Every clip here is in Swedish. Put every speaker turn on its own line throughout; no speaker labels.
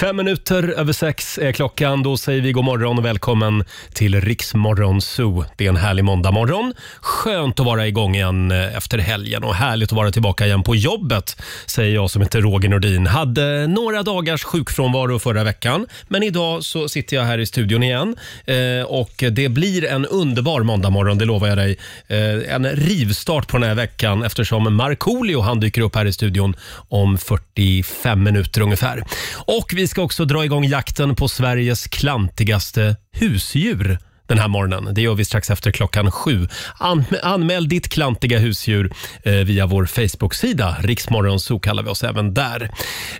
Fem minuter över sex är klockan. Då säger vi god morgon och välkommen till Riksmorgon Zoo. Det är en härlig måndagmorgon. Skönt att vara igång igen eh, efter helgen och härligt att vara tillbaka igen på jobbet, säger jag som heter Roger Nordin. Hade några dagars sjukfrånvaro förra veckan, men idag så sitter jag här i studion igen eh, och det blir en underbar måndagmorgon, det lovar jag dig. Eh, en rivstart på den här veckan eftersom Markoolio han dyker upp här i studion om 45 minuter ungefär. Och vi ska också dra igång jakten på Sveriges klantigaste husdjur den här morgonen. Det gör vi strax efter klockan sju. An anmäl ditt klantiga husdjur eh, via vår Facebook-sida. Riksmorgonzoo kallar vi oss även där.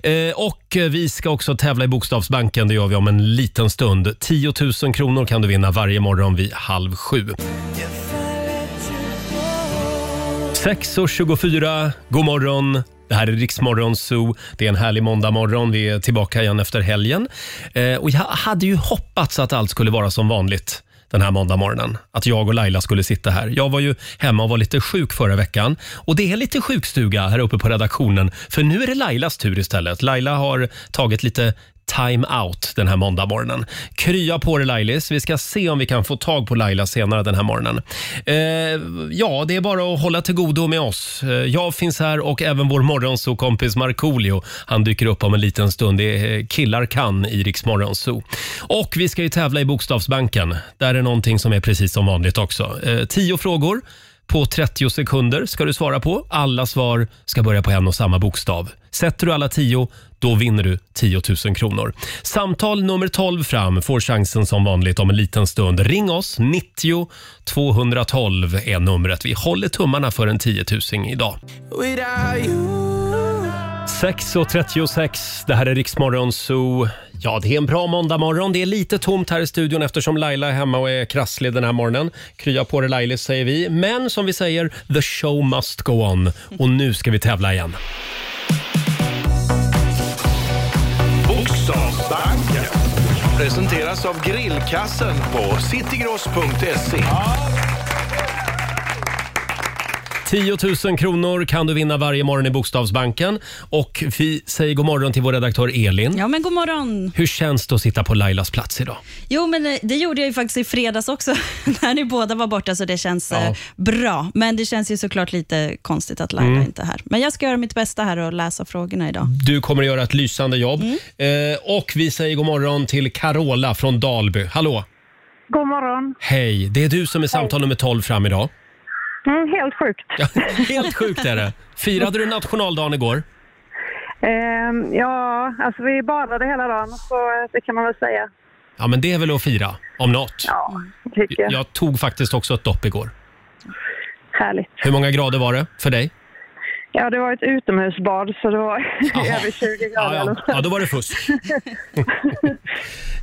Eh, och eh, vi ska också tävla i Bokstavsbanken. Det gör vi om en liten stund. 10 000 kronor kan du vinna varje morgon vid halv sju. 6.24, god morgon. Det här är Riksmorgon Zoo. Det är en härlig måndagmorgon. Vi är tillbaka igen efter helgen. Eh, och jag hade ju hoppats att allt skulle vara som vanligt den här måndagmorgonen. Att jag och Laila skulle sitta här. Jag var ju hemma och var lite sjuk förra veckan. Och det är lite sjukstuga här uppe på redaktionen. För nu är det Lailas tur istället. Laila har tagit lite time out den här måndagmorgonen. Krya på dig Lailis. Vi ska se om vi kan få tag på Laila senare den här morgonen. Eh, ja, det är bara att hålla till godo med oss. Eh, jag finns här och även vår morgonsokompis Markoolio. Han dyker upp om en liten stund. Det är eh, Killar kan i Riks Morgonzoo. Och vi ska ju tävla i Bokstavsbanken. Där är någonting som är precis som vanligt också. Eh, tio frågor på 30 sekunder ska du svara på. Alla svar ska börja på en och samma bokstav. Sätter du alla 10, då vinner du 10 000 kronor. Samtal nummer 12 fram får chansen som vanligt om en liten stund. Ring oss, 90 212 är numret. Vi håller tummarna för en 10 000 idag. 6.36, det här är Riksmorgon Zoo. Ja, det är en bra måndagmorgon. Det är lite tomt här i studion eftersom Laila är hemma och är krasslig den här morgonen. Krya på dig Lailis, säger vi. Men som vi säger, the show must go on. Och nu ska vi tävla igen.
Bokstavsbanken presenteras av grillkassen på citygross.se.
10 000 kronor kan du vinna varje morgon i Bokstavsbanken. Och vi säger god morgon till vår redaktör Elin.
Ja, men god morgon.
Hur känns det att sitta på Lailas plats idag?
Jo, men eh, det gjorde jag ju faktiskt i fredags också, när ni båda var borta, så det känns eh, bra. Men det känns ju såklart lite konstigt att Laila
Mm.
inte är här. Men jag ska göra mitt bästa här och läsa frågorna idag.
Du kommer att göra ett lysande jobb.
Mm.
Eh, och vi säger god morgon till Carola från Dalby. Hallå!
God morgon.
Hej! Det är du som är samtal nummer 12 fram idag.
Mm, helt sjukt.
Helt sjukt är det. Firade du nationaldagen igår?
Ehm, ja, alltså vi badade hela dagen, så eh, det kan man väl säga.
Ja, men det är väl att fira, om något.
Ja, tycker jag.
Jag tog faktiskt också ett dopp igår.
Härligt.
Hur många grader var det för dig?
Ja, det var ett utomhusbad, så det var
Jaha.
över 20 grader.
Ja, ja. ja då var det fusk.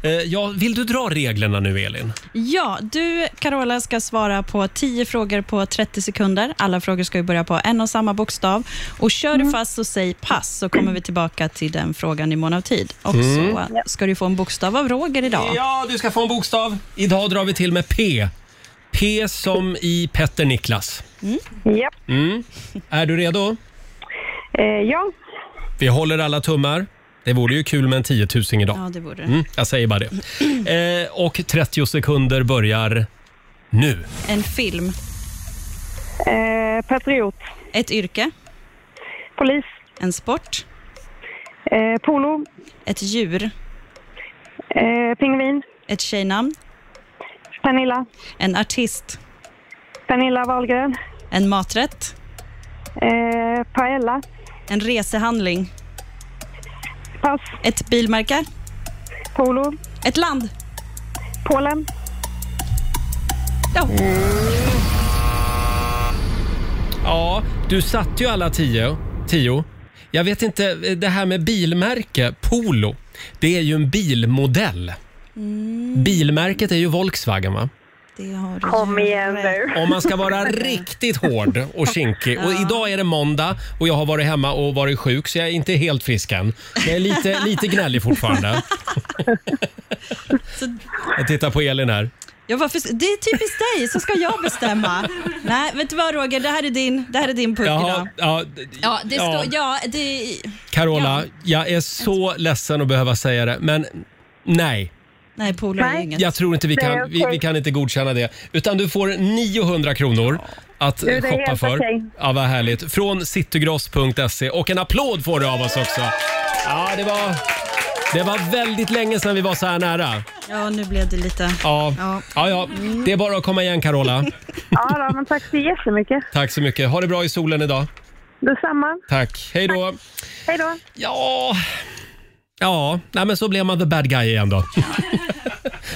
Eh, ja, vill du dra reglerna nu, Elin?
Ja, du Carola ska svara på 10 frågor på 30 sekunder. Alla frågor ska ju börja på en och samma bokstav. Och kör du fast så säg pass, så kommer vi tillbaka till den frågan i mån av tid. Och
Mm.
så ska du få en bokstav av Roger idag.
Ja, du ska få en bokstav. Idag drar vi till med P. P som i Petter Niklas.
Japp.
Mm. Är du redo?
Eh, ja.
Vi håller alla tummar. Det vore ju kul med en 10 000 idag.
Ja, det vore det.
Mm, jag säger bara det. Eh, och 30 sekunder börjar nu.
En film,
Eh, patriot.
ett yrke,
Polis.
en sport,
Eh, polo.
ett djur,
Eh, pingvin.
ett tjejnamn,
Pernilla.
en artist,
Pernilla Wahlgren.
en maträtt,
Eh, paella.
en resehandling,
Pass.
ett bilmärke,
Polo.
ett land.
Polen.
Ja.
Mm.
Ja, du satte ju alla tio. tio. Jag vet inte, eh, det här med bilmärke, Polo, det är ju en bilmodell.
Mm.
Bilmärket är ju Volkswagen va?
Det har du
Kom
ju
igen
rätt.
nu.
Om man ska vara riktigt hård och kinkig. Och idag är det måndag och jag har varit hemma och varit sjuk så jag är inte helt frisk än. Jag är lite, lite gnällig fortfarande.
Så,
Jag tittar på Elin här.
Ja, varför, det är typiskt dig, så ska jag bestämma. Nej, vet du vad Roger, det här är din, det här är din puck idag.
ja, d-
Ja, det
ja.
står, ja, det,
Carola, jag är så ledsen att behöva säga det, men nej.
nej polare är
Nej.
inget.
Jag tror inte vi
Nej,
kan,
okej.
vi, vi kan inte godkänna det. Utan du får 900 kronor att
det är
shoppa
helt
för.
okej.
Ja, vad härligt. Från citygross.se. Och en applåd får du av oss också. Ja, det var, det var väldigt länge sedan vi var så här nära.
Ja, nu blev det lite...
Ja, ja.
Ja.
ja. Det är bara att komma igen Carola.
Ja, då, men tack så jättemycket.
Tack så mycket. Ha det bra i solen idag.
Detsamma.
Tack. Hej då.
Hej då.
Ja... Ja, nej men så blev man the bad guy igen då.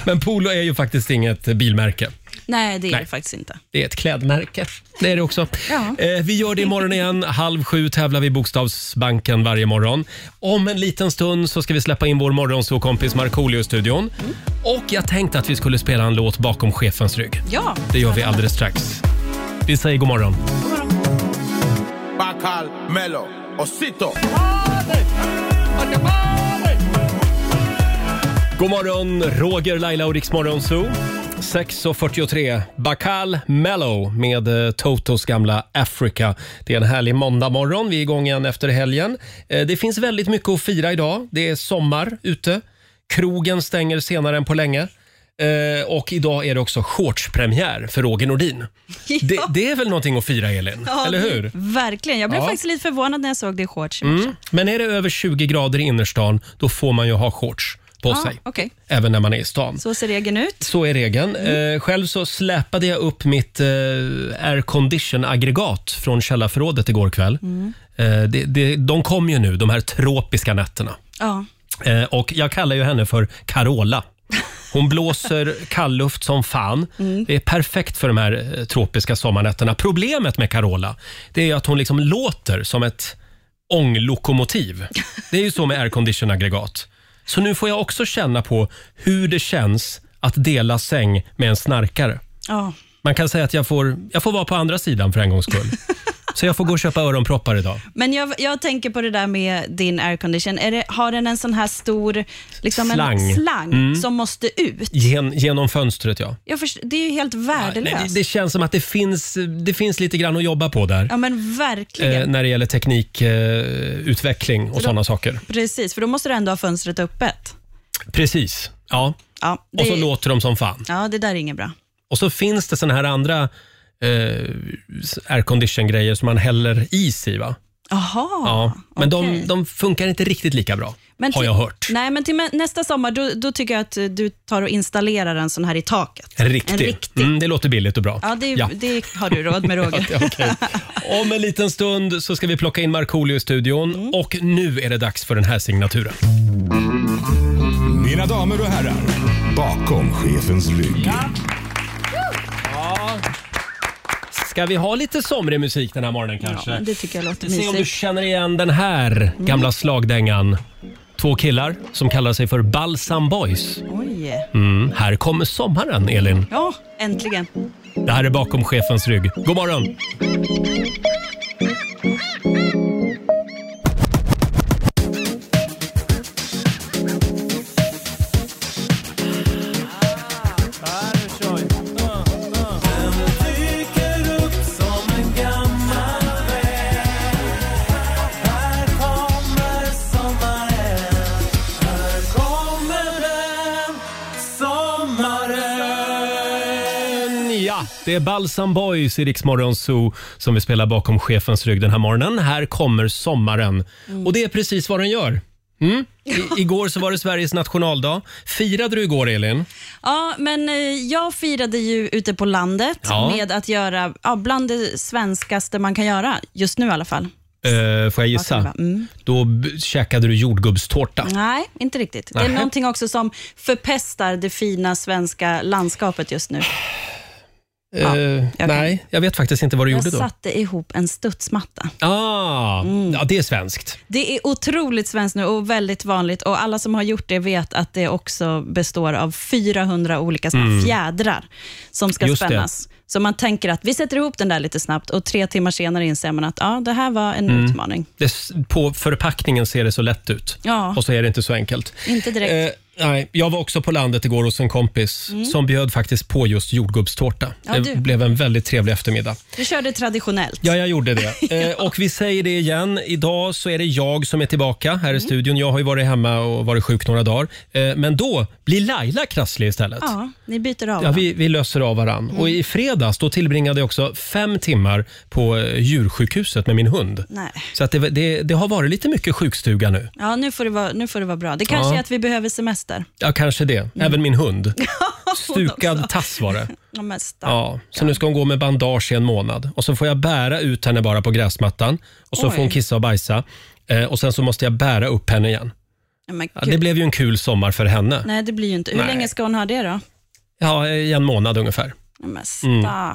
men Polo är ju faktiskt inget bilmärke.
Nej, det är
Nej.
det faktiskt inte.
Det är ett klädmärke. Det är det också.
Ja.
Eh, vi gör det imorgon igen. Halv sju tävlar vi i Bokstavsbanken varje morgon. Om en liten stund så ska vi släppa in vår morgonsåkompis Markoolio i studion. Och jag tänkte att vi skulle spela en låt bakom chefens rygg.
Ja,
Det gör vi alldeles strax. Vi säger god morgon.
Bacal, Melo, Osito.
God morgon, Roger, Laila och Riksmorgon Zoo. 6.43, Bacal Mellow med eh, Totos gamla Africa. Det är en härlig måndagmorgon. Vi är igång igen efter helgen. Eh, Det finns väldigt mycket att fira idag. Det är sommar ute. Krogen stänger senare än på länge. Eh, Och idag är det också shortspremiär för Roger Nordin. Det, det är väl någonting att fira, Elin?
Ja,
Eller hur?
Verkligen. Jag blev
Ja.
faktiskt lite förvånad när jag såg det i shorts.
Mm. Men är det över 20 grader i innerstan, då får man ju ha shorts på
Ja,
sig.
Okej,
Även när man är i stan.
så ser regeln ut.
Så är regeln. Eh, själv så släpade jag upp mitt eh, aircondition-aggregat från källarförrådet igår kväll.
Mm.
Eh, det, det, de kom ju nu, de här tropiska nätterna.
Ja.
Eh, och jag kallar ju henne för Carola. Hon blåser kallluft som fan. Det är perfekt för de här eh, tropiska sommarnätterna. Problemet med Carola det är att hon liksom låter som ett ånglokomotiv. Det är ju så med aircondition-aggregat. Så nu får jag också känna på hur det känns att dela säng med en snarkare.
ja.
Man kan säga att jag får, jag får vara på andra sidan för en gångs skull. Så jag får gå och köpa öronproppar idag.
Men jag, jag tänker på det där med din aircondition. Är det, har den en sån här stor liksom
Slang. Mm.
En slang som måste ut?
Gen, genom fönstret, ja.
Jag förstår, det är ju helt
Nej,
värdelöst.
det, det känns som att det finns, det finns lite grann att jobba på där.
Ja, men verkligen.
Eh, när det gäller teknikutveckling eh, utveckling och sådana saker.
Precis, för då måste du ändå ha fönstret öppet.
Precis. Ja.
Ja, det,
Och så låter de som fan.
ja, det där är inget bra.
Och så finns det såna här andra eh, aircondition-grejer som man häller is i. Va?
Jaha.
Ja. Men de,
Ah, okej.
de funkar inte riktigt lika bra, har
Men till-
jag hört.
Nej, men till mä- nästa sommar då, då tycker jag att eh, du tar och installerar en sån här i taket.
En riktig.
En riktig.
Mm, det låter billigt och bra.
Ja, det,
Ja.
det har du råd med Roger.
Ja, okej. Om en liten stund så ska vi plocka in Markoolio i studion
Mm.
och nu är det dags för den här signaturen.
Mina damer och herrar, bakom chefens rygg.
Ska vi ha lite somrig musik den här morgonen kanske?
Ja, det tycker jag låter
Se om du
mysigt.
känner igen den här gamla slagdängan. Två killar som kallar sig för Balsam Boys.
Oj.
Mm, här kommer sommaren, Elin.
Ja, äntligen.
Det här är bakom chefens rygg. God morgon! Ja, det är Balsam Boys i Rix Morgon Zoo som vi spelar bakom chefens rygg den här morgonen. Här kommer sommaren. Och det är precis vad den gör. Mm. I, igår så var det Sveriges nationaldag. Firade du igår, Elin?
Ja, men eh, jag firade ju ute på landet
Ja.
med att göra ja, bland det svenskaste man kan göra, just nu i alla fall.
Eh, får jag gissa?
Mm.
Då b- käkade du jordgubbstårta.
Nej, inte riktigt. Det
Nej.
är någonting också som förpestar det fina svenska landskapet just nu. Ja,
Eh,
jag kan-
nej, jag vet faktiskt inte vad du
Jag
gjorde då.
satte ihop en studsmatta.
Ah,
Mm.
Ja, det är svenskt.
Det är otroligt svenskt nu och väldigt vanligt och alla som har gjort det vet att det också består av 400 olika såna fjädrar som ska
Mm. Just det.
spännas. Så man tänker att vi sätter ihop den där lite snabbt och tre timmar senare inser man att ja, det här var en
Mm.
utmaning.
Det, s- på förpackningen ser det så lätt ut
Ja.
och så är det inte så enkelt.
Inte direkt.
Eh, Nej, jag var också på landet igår hos en kompis som bjöd faktiskt på just jordgubbstårta.
Mm. Ja,
det
du.
blev en väldigt trevlig eftermiddag.
Du körde traditionellt.
Ja, jag gjorde det. Eh, och vi säger det igen. Idag så är det jag som är tillbaka här
Mm.
i studion. Jag har ju varit hemma och varit sjuk några dagar. Eh, men då blir Laila krasslig istället.
Ja, ni byter av.
Ja,
va?
vi, vi löser av varann. Och i fredags då tillbringade jag också fem timmar på eh, djursjukhuset med min hund.
Nej.
Så att det, det, det har varit lite mycket sjukstuga nu.
Ja, nu får, det vara, nu får det vara bra. Det kanske
Ja.
är att vi behöver semester.
Ja, kanske det. Även min hund.
Mm. också.
Stukad tass var det.
Ja, men stack.
Ja, så nu ska hon gå med bandage i en månad. Och så får jag bära ut henne bara på gräsmattan. Och så
Oj.
får hon kissa och bajsa. Eh, och sen så måste jag bära upp henne igen.
Ja, men
Ja, det
gud.
blev ju en kul sommar för henne.
Nej, det blir ju inte. Hur
Nej. Mm.
länge ska hon ha det då?
Ja, i en månad ungefär. Mm.
Ja, men stackarn.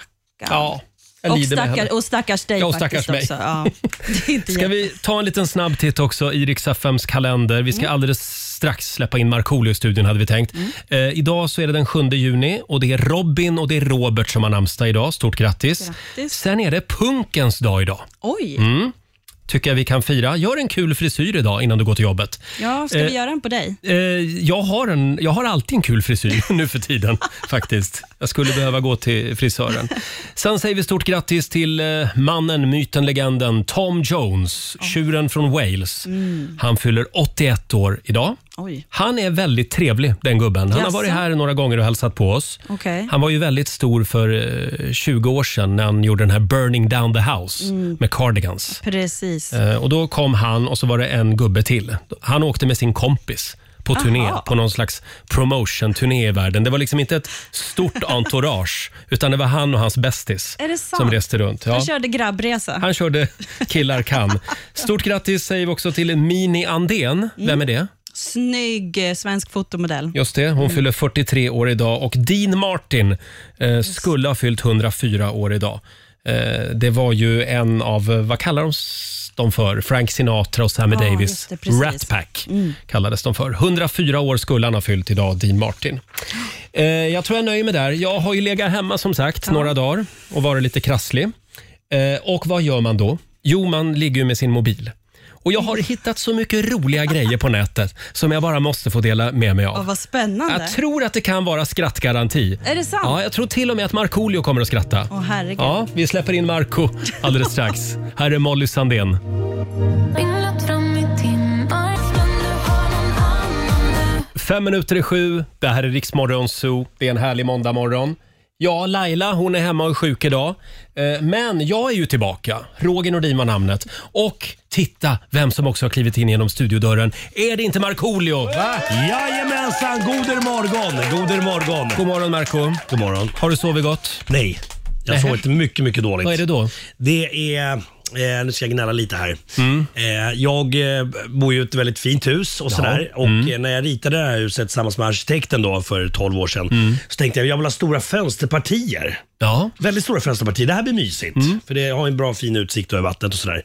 Ja, jag
Och,
lider med henne.
stackar, och stackars dig
Ja, och
faktiskt
stackars
också. Ja. Det är inte
Ska vi ta en liten snabb titt också i Rix FMs kalender? Vi
Mm.
ska alldeles strax släppa in Markoolio i studion hade vi tänkt. Eh, idag så är det den 7 juni och det är Robin och det är Robert som har namnsdag idag. Stort grattis.
Grattis.
Sen är det punkens dag idag. Mm.
Oj,
Tycker jag vi kan fira. Gör en kul frisyr idag innan du går till jobbet.
ja, ska
Eh,
vi göra en på dig?
Eh, jag, har en, jag har alltid en kul frisyr nu för tiden faktiskt. Jag skulle behöva gå till frisören. Sen säger vi stort grattis till eh, mannen, myten, legenden Tom Jones, tjuren från Wales.
Mm.
Han fyller 81 år idag.
Oj.
Han är väldigt trevlig den gubben. Han har
Jaså?
varit här några gånger och hälsat på oss.
Okej.
Han var ju väldigt stor för eh, 20 år sedan när han gjorde den här “Burning down the house”
Mm.
med Cardigans.
Precis.
Eh, Och då kom han och så var det en gubbe till. Han åkte med sin kompis på turné,
Aha.
på någon slags promotion-turné i världen. Det var liksom inte ett stort entourage, utan det var han och hans bästis
Är det sant?
som reste runt. Ja.
Han körde grabbresa.
Han körde Killar kan. Stort grattis säger vi också till Mini Andén.
Mm.
Vem är det?
Snygg eh, svensk fotomodell.
Just det, hon fyller 43 år idag och Dean Martin eh, skulle ha fyllt 104 år idag. Eh, det var ju en av, eh, vad kallar de s- dem för? Frank Sinatra och Sammy
Ja,
Davis.
just det, precis. Mm.
Rat Pack kallades de för. 104 år skulle han ha fyllt idag, Dean Martin. Eh, jag tror jag nöjer mig där. Jag har ju legat hemma som sagt några dagar och varit lite krasslig. Eh, och vad gör man då? Jo, man ligger ju med sin mobil. Och jag
Mm.
har hittat så mycket roliga grejer på nätet som jag bara måste få dela med mig av.
Åh, vad spännande.
Jag tror att det kan vara skrattgaranti.
Är det sant?
Ja, jag tror till och med att Markoolio kommer att skratta.
Åh, herregud.
Ja, vi släpper in Marco alldeles strax. Här är Molly Sandén. Fem minuter i sju. Det här är Riksmorgon Zoo. Det är en härlig måndagmorgon. Ja, Laila hon är hemma och är sjuk idag. Eh, Men jag är ju tillbaka. Roger Nordin var namnet. Och titta vem som också har klivit in genom studiodörren. Är det inte Markoolio?
Jajamensan, goder morgon, goder morgon.
God morgon Marco.
God morgon.
Har du sovit gott?
Nej, jag sov inte mycket, mycket dåligt.
Vad är det då?
Det är, eh, nu ska jag gnälla lite här. Eh, jag eh, bor ju i ett väldigt fint hus och sådär. Och
Mm.
eh, när jag ritade det här huset tillsammans med arkitekten då för 12 år sedan,
Mm.
så tänkte jag jag vill ha stora fönsterpartier.
Ja. Mm.
Väldigt stora fönsterpartier. Det här blir mysigt. För det har en bra fin utsikt över vattnet och sådär.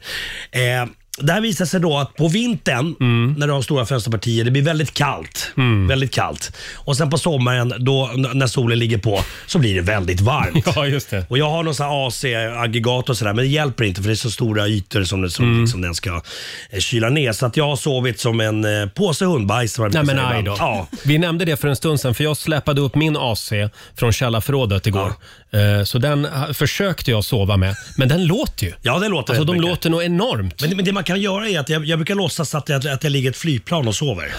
Eh, det här visar sig då att på vintern,
Mm.
när du har stora fönsterpartier, det blir väldigt kallt. Väldigt kallt. Och sen på sommaren, då, n- när solen ligger på, så blir det väldigt varmt.
Ja, just det.
Och jag har någon sån här AC-aggregat och sådär, men det hjälper inte för det är så stora ytor som, det, som
Mm.
liksom den ska eh, kyla ner. Så att jag har sovit som en eh, påse hundbajs. som jag
Nej
brukar
men
säga
aj
ibland.
då.
Ja.
Vi nämnde det för en stund sedan för jag släpade upp min AC från källarförrådet igår. Eh, Så den ha- försökte jag sova med, men den låter ju.
ja, det låter
Alltså
väldigt
de
mycket.
låter nog enormt.
Men, det- men det man kan göra är att jag, jag brukar låtsas att jag, att jag ligger i ett flygplan och sover.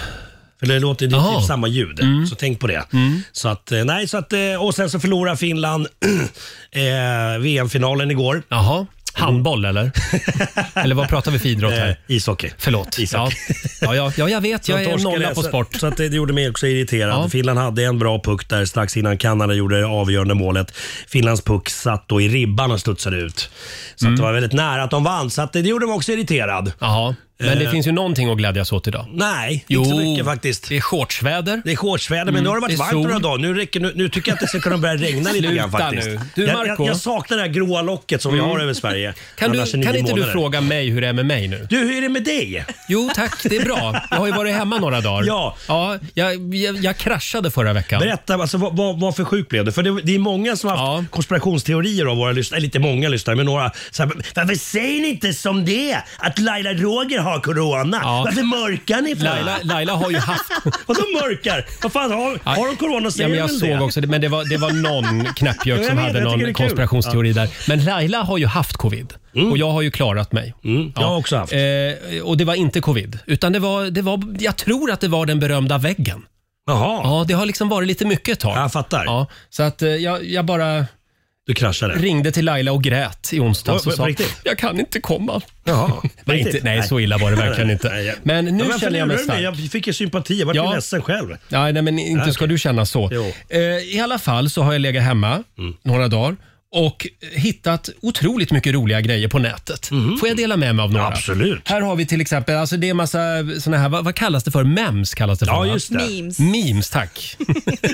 För det låter det är
Jaha. Mm.
typ samma ljud, så tänk på det. Så att, eh, nej, så att, eh, och sen så förlorar Finland eh, VM-finalen igår.
Jaha, handboll eller? eller vad pratar vi för idrott
Eh,
här?
ishockey.
Förlåt. Ja,
Isak.
ja, ja, ja, jag vet. Jag
De
är
torskade,
nolla på
så-
sport.
Så att det gjorde mig också irriterad.
Ja.
Finland hade en bra puck där strax innan Kanada gjorde det avgörande målet. Finlands puck satt då i ribban och studsade ut. Så att det var väldigt nära att de vann, så att det gjorde mig också irriterad.
Mm. Jaha, men det
Eh.
finns ju någonting att glädjas åt idag.
Nej, inte så mycket faktiskt.
det är shortsväder. Mm.
Det är shortsväder, men nu har det
det
varit
är
varmt
sol.
några dagar. Nu, räcker, nu, nu tycker jag att det ska kunna börja regna lite grann
Sluta
faktiskt.
nu. Du,
jag,
Marco.
jag, jag saknar det här gråa locket som vi har över Sverige.
Mm. Kan, du,
Annars är nio
kan inte du
månader.
fråga mig hur det är med mig nu?
Du, hur är det med dig?
Jo tack, det är bra. Jag har ju varit hemma några dagar.
Ja.
ja jag, jag, jag kraschade förra veckan.
Berätta, alltså, vad, vad, vad för sjuk blev du? För det, det är många som har haft
Ja.
konspirationsteorier av våra lyssnare, eller inte många lyssnare, men några. Så här, varför säger ni inte som det är? Att Laila Roger har corona.
Ja.
Varför mörkar ni för?
Laila, Laila har ju haft...
Vadå mörkar? Vad fan, har, har de corona
ja,
säger
men jag
väl
såg
det?
också det, men det var, det var någon knäppjök
Ja, jag
som
vet,
hade
jag tycker det
någon
är kul.
konspirationsteori där. Men Laila har ju haft covid och jag har ju klarat mig.
Mm, jag har också haft.
Eh, och det var inte covid, utan det var, det var, jag tror att det var den berömda väggen.
Jaha,
Ja, det har liksom varit lite mycket ett tag.
jag fattar.
Ja, så att eh, jag, jag bara
Du kraschade.
ringde till Laila och grät i onsdags
På-
och
på
sa
riktigt?
jag kan inte komma.
Jaha.
Nej, inte, nej, så illa var det verkligen
Nej,
inte.
jag-
Men nu
Ja, varför
känner jag mig
lurar du
stark.
Jag fick ju sympati, jag vart
Ja.
ju ledsen själv.
Nej, nej men inte
Nej,
ska
okej.
du känna så.
Jo. Mm.
Eh, I alla fall så har jag legat hemma några dagar och hittat otroligt mycket roliga grejer på nätet. Får jag dela med mig av några?
Mhm. Absolut.
Här har vi till exempel, alltså det är massa såna här, vad, vad kallas det för? Mems kallas det för
Ja,
va?
just det.
Memes.
Memes, tack.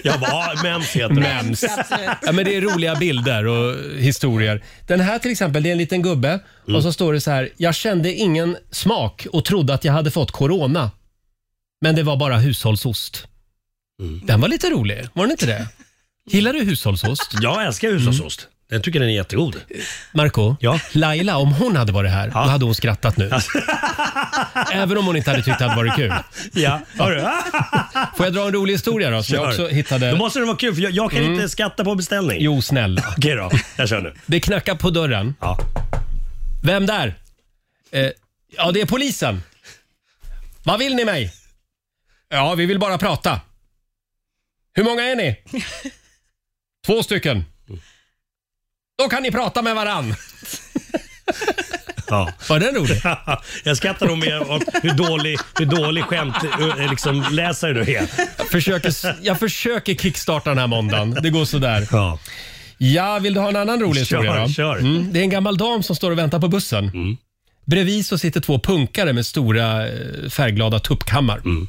Jag bara, mems heter det.
Mems.
Absolut.
Ja, men det är roliga bilder och historier. Den här till exempel, det är en liten gubbe och
Mm.
så står det så här. Jag kände ingen smak och trodde att jag hade fått corona. Men det var bara hushållsost.
Mm.
Den var lite rolig, var den inte det? Gillar du hushållsost? Mm.
Jag älskar hushållsost. Jag tycker den är jättegod.
Marco,
Ja.
Laila, om hon hade varit här, då hade hon skrattat nu.
Alltså.
Även om hon inte hade tyckt det hade varit kul.
Ja, hörru.
Får jag dra en rolig historia då? Som jag
Kör.
också
Då
hittade. Mm.
måste det vara kul för jag, jag kan inte skatta på beställning.
Jo, snälla.
Okej då, jag kör nu.
Det knackar på dörren.
Ja.
Vem där? Eh, ja, det är polisen. Vad vill ni mig? Ja, vi vill bara prata. Hur många är ni? Två stycken. Då kan ni prata med varann.
Ja.
Var den rolig?
Jag skrattar nog mer åt hur dålig, hur dålig skämt eh, liksom, läsare du är.
Försöker, jag försöker kickstarta den här måndagen. Det går sådär.
Ja.
Ja, vill du ha en annan rolig
Kör,
historia? då?
kör. Mm.
Mm, det är en gammal dam som står och väntar på bussen. Bredvid så sitter två punkare med stora eh, färgglada tuppkammar.
Mm.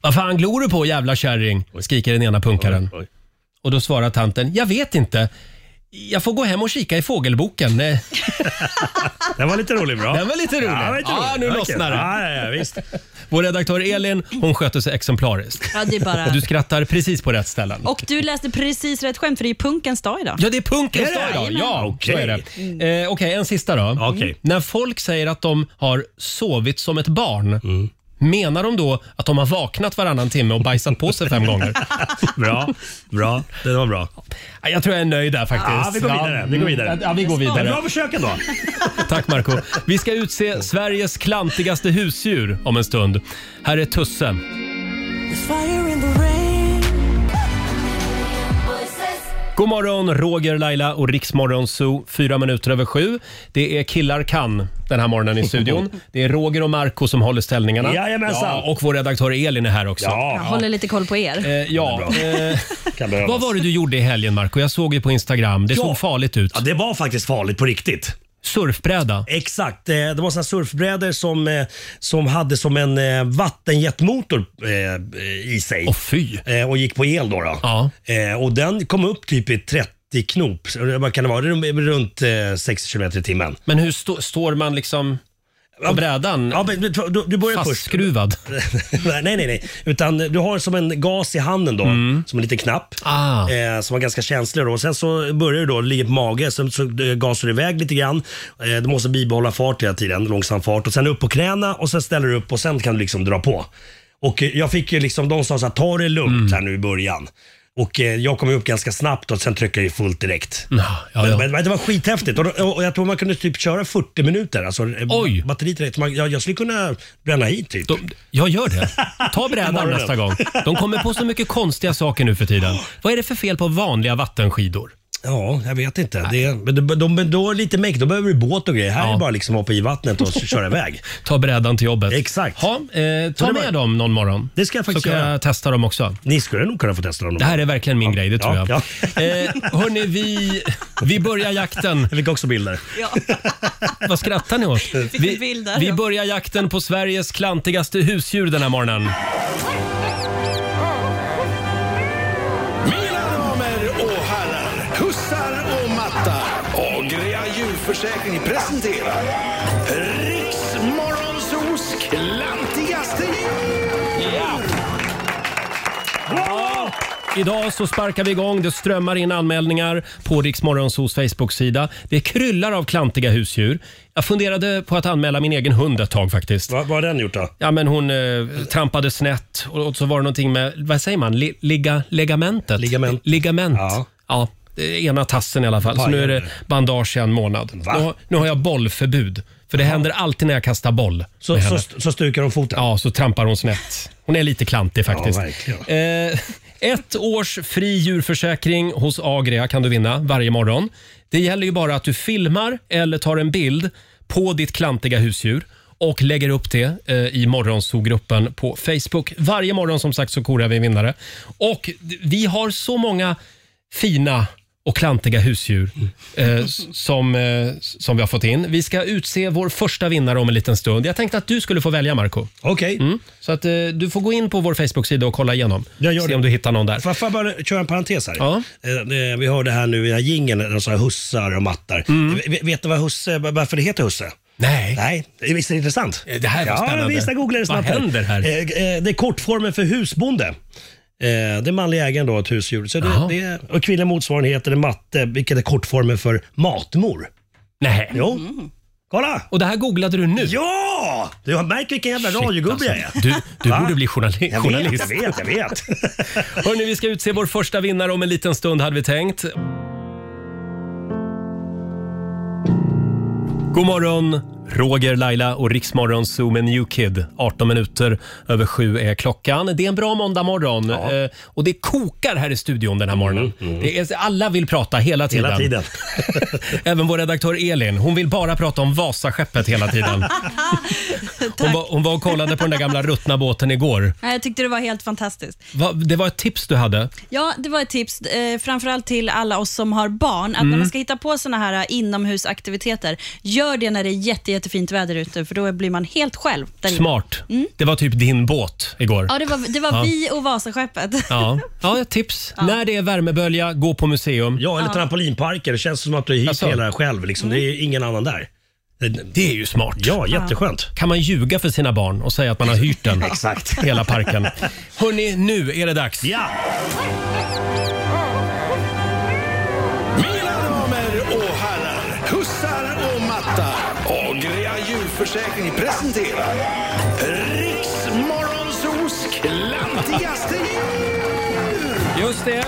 Vad fan glor du på jävla kärring? skriker den ena punkaren.
Oj.
Och då svarar tanten, jag vet inte. Jag får gå hem och kika i fågelboken. Eh,
Den var lite rolig bra.
Den var lite rolig.
Ja, den var lite rolig.
Ja, nu
Den var
lossnar
kul.
det.
Ja, ja, ja, visst.
Vår redaktör Elin, hon sköter sig exemplariskt.
Ja, det är bara...
Du skrattar precis på rätt ställen.
Och du läste precis rätt skämt, för det är punkens dag idag.
Ja, det är punkens
Är det?
dag idag. Ja,
Jajamän. Mm.
så är det. Eh, Okej, en sista då.
Okej.
När folk säger att de har sovit som ett barn,
Mm.
menar de då att de har vaknat varannan timme och bajsat på sig fem gånger?
Bra, bra. Den var bra.
Ja, Jag tror jag är nöjd där faktiskt.
Ja, vi går vidare, vi går vidare.
Ja, vi går
Men
vidare.
bra försök ändå.
Tack Marco. Vi ska utse Sveriges klantigaste husdjur om en stund. Här är Tusse. God morgon, Roger, Laila och Riksmorgon Zoo. Fyra minuter över sju. Det är killar kan den här morgonen i studion. Det är Roger och Marco som håller ställningarna.
Jajamensan.
Ja, och vår redaktör Elin är här också.
Jag
Ja,
håller lite koll på er.
Eh, ja. Eh,
kan
vad
behövas.
var det du gjorde i helgen Marco? Jag såg ju på Instagram. Det
Ja.
såg farligt ut.
Ja, det var faktiskt farligt på riktigt.
Surfbräda.
Exakt. eh, Det var såna surfbrädor som, eh, som hade som en eh, vattenjetmotor eh, i sig.
Åh fy.
Eh, och gick på el då. då.
Ja.
Eh, och den kom upp typ i 30 knop, Så det- vad kan det vara, Det är runt eh, 60 kilometer i timmen.
Men hur stå- står man liksom på brädan?
Ja, men, men du, du börjar först.
Fastskruvad?
nej, nej, nej. Utan du har som en gas i handen då, som en liten knapp.
Ah.
Eh, som var ganska känslig då. Sen så börjar du då ligga på mage, sen så eh, gasar du iväg lite grann. Eh, du måste bibehålla fart hela tiden, långsam fart. Och sen upp på knäna och sen ställer du upp och sen kan du liksom dra på. Och eh, jag fick ju liksom, de sa så här, ta det lugnt här nu i början. Och eh, jag kom ju upp ganska snabbt och sen trycker jag ju fullt direkt.
Ja, ja,
Men,
ja.
men, men det var skithäftigt och, då- och jag tror man kunde typ köra 40 minuter. Alltså, eh,
Oj.
Batteriet direkt. Man, jag, jag skulle kunna bränna hit typ.
De, jag gör det. Ta brädan
Imorgon.
nästa gång. De kommer på så mycket konstiga saker nu för tiden. Vad är det för fel på vanliga vattenskidor?
Ja, jag vet inte. Det, men de, de, men då är det lite make, då behöver du båt och grejer. Här är
Ja.
det bara liksom hoppa i vattnet och köra iväg.
Ta brädan till jobbet.
Exakt.
Ha, eh, ta
det
med
var-
dem någon morgon.
Det ska jag faktiskt
Så kan
göra.
jag testa dem också.
Ni skulle nog kunna få testa dem.
Det här är verkligen min grej, det tror
Ja,
jag. Eh, hörni, vi, vi börjar jakten.
Jag fick också bilder.
Ja.
Vad skrattar ni åt?
en bild där,
vi
ja.
börjar jakten på Sveriges klantigaste husdjur den här morgonen.
Mina damer och herrar, hussar och matta. Agria djurförsäkring presenterar Riksmorgonsos klantigaste djur. Ja.
Idag så sparkar vi igång. Det strömmar in anmälningar på Riksmorgonsos Facebook-sida. Det kryllar av klantiga husdjur. Jag funderade på att anmäla min egen hund ett tag faktiskt.
Vad, vad har den gjort då?
Ja, men hon eh, trampade snett och, och så var det någonting med, vad säger man, Li, liga, legamentet?
Ligament.
Ligament. Ja.
Ja.
det ena tassen i alla fall. Så nu är det bandage i en månad. Nu,
Va?
har- nu har jag bollförbud. För det händer alltid när jag kastar boll.
Så,
med
så,
henne.
så stukar de foten?
Ja, så trampar hon snett. Hon är lite klantig faktiskt.
Ja, verkligen.
eh, ett års fri djurförsäkring hos Agria kan du vinna varje morgon. Det gäller ju bara att du filmar eller tar en bild på ditt klantiga husdjur och lägger upp det eh, i Morgonzoo-gruppen på Facebook. Varje morgon som sagt så korar vi en vinnare. Och d- vi har så många fina och klantiga husdjur eh, s- som, eh, som vi har fått in. Vi ska utse vår första vinnare om en liten stund. Jag tänkte att du skulle få välja, Marco.
Okej.
Så att, eh, du får gå in på vår Facebook-sida och kolla igenom.
Jag gör
Se
det.
om du hittar någon där.
Får jag- får jag Alltså, bara köra en parentes här?
Ja.
Eh, eh, Vi hörde här nu i den här jingeln, när de sa hussar och mattar. V- Vet du vad husse, varför det heter husse?
Mm. Nej.
Nej, visst är det intressant?
Eh, det här var
Ja,
spännande.
visst jag googlade
Vad
snabbt. här.
händer här?
Eh, eh, Det är kortformen för husbonde. Eh, Det är manliga ägaren då, ett husdjur. Så
Jaha.
det, det är, och kvinnlig motsvarighet heter det matte, vilket är kortformen för matmor.
Nej.
Jo, kolla!
Och det här googlade du nu?
Ja! Du har märkt vilken jävla
Shit,
radiogubbe jag är.
alltså. Du, du
Va?
borde bli journali-
Jag vet,
journalist.
jag vet, jag vet.
Hörni, vi ska utse vår första vinnare om en liten stund hade vi tänkt. God morgon, Roger, Laila och Riksmorgon Zoo med New Kid. 18 minuter över sju är klockan. Det är en bra måndagmorgon eh, och det kokar här i studion den här morgonen. Det är, alla vill prata hela tiden.
Mm, Hela tiden.
Även vår redaktör Elin, hon vill bara prata om Vasaskeppet hela tiden. Hon var, hon var och kollade på den där gamla ruttna båten igår.
Nej, Jag tyckte det var helt fantastiskt.
Va, det var ett tips du hade.
Ja, det var ett tips, eh, framförallt till alla oss som har barn, att när
Mm.
man ska hitta på såna här eh, inomhusaktiviteter, gör det när det är jätte, jättefint väder ute, för då blir man helt själv. Där inne.
Smart. Det var typ din båt igår.
Mm. Ja, det var, det var vi och Vasaskeppet.
Ja, ja ett tips. När det är värmebölja, gå på museum.
Ja, eller trampolinparker. Det känns som att du är hit
Alltså.
hela själv. Liksom. Det är ingen annan där.
Det är ju smart.
Ja, jätteskönt.
Kan man ljuga för sina barn och säga att man har hyrt den?
Exakt.
Hela parken. Hörni, nu är det dags.
Ja,
Mina damer och herrar, hussar och mattar. Agria djurförsäkring presenterar Riksmorgonsos klantigaste djur.
Just det.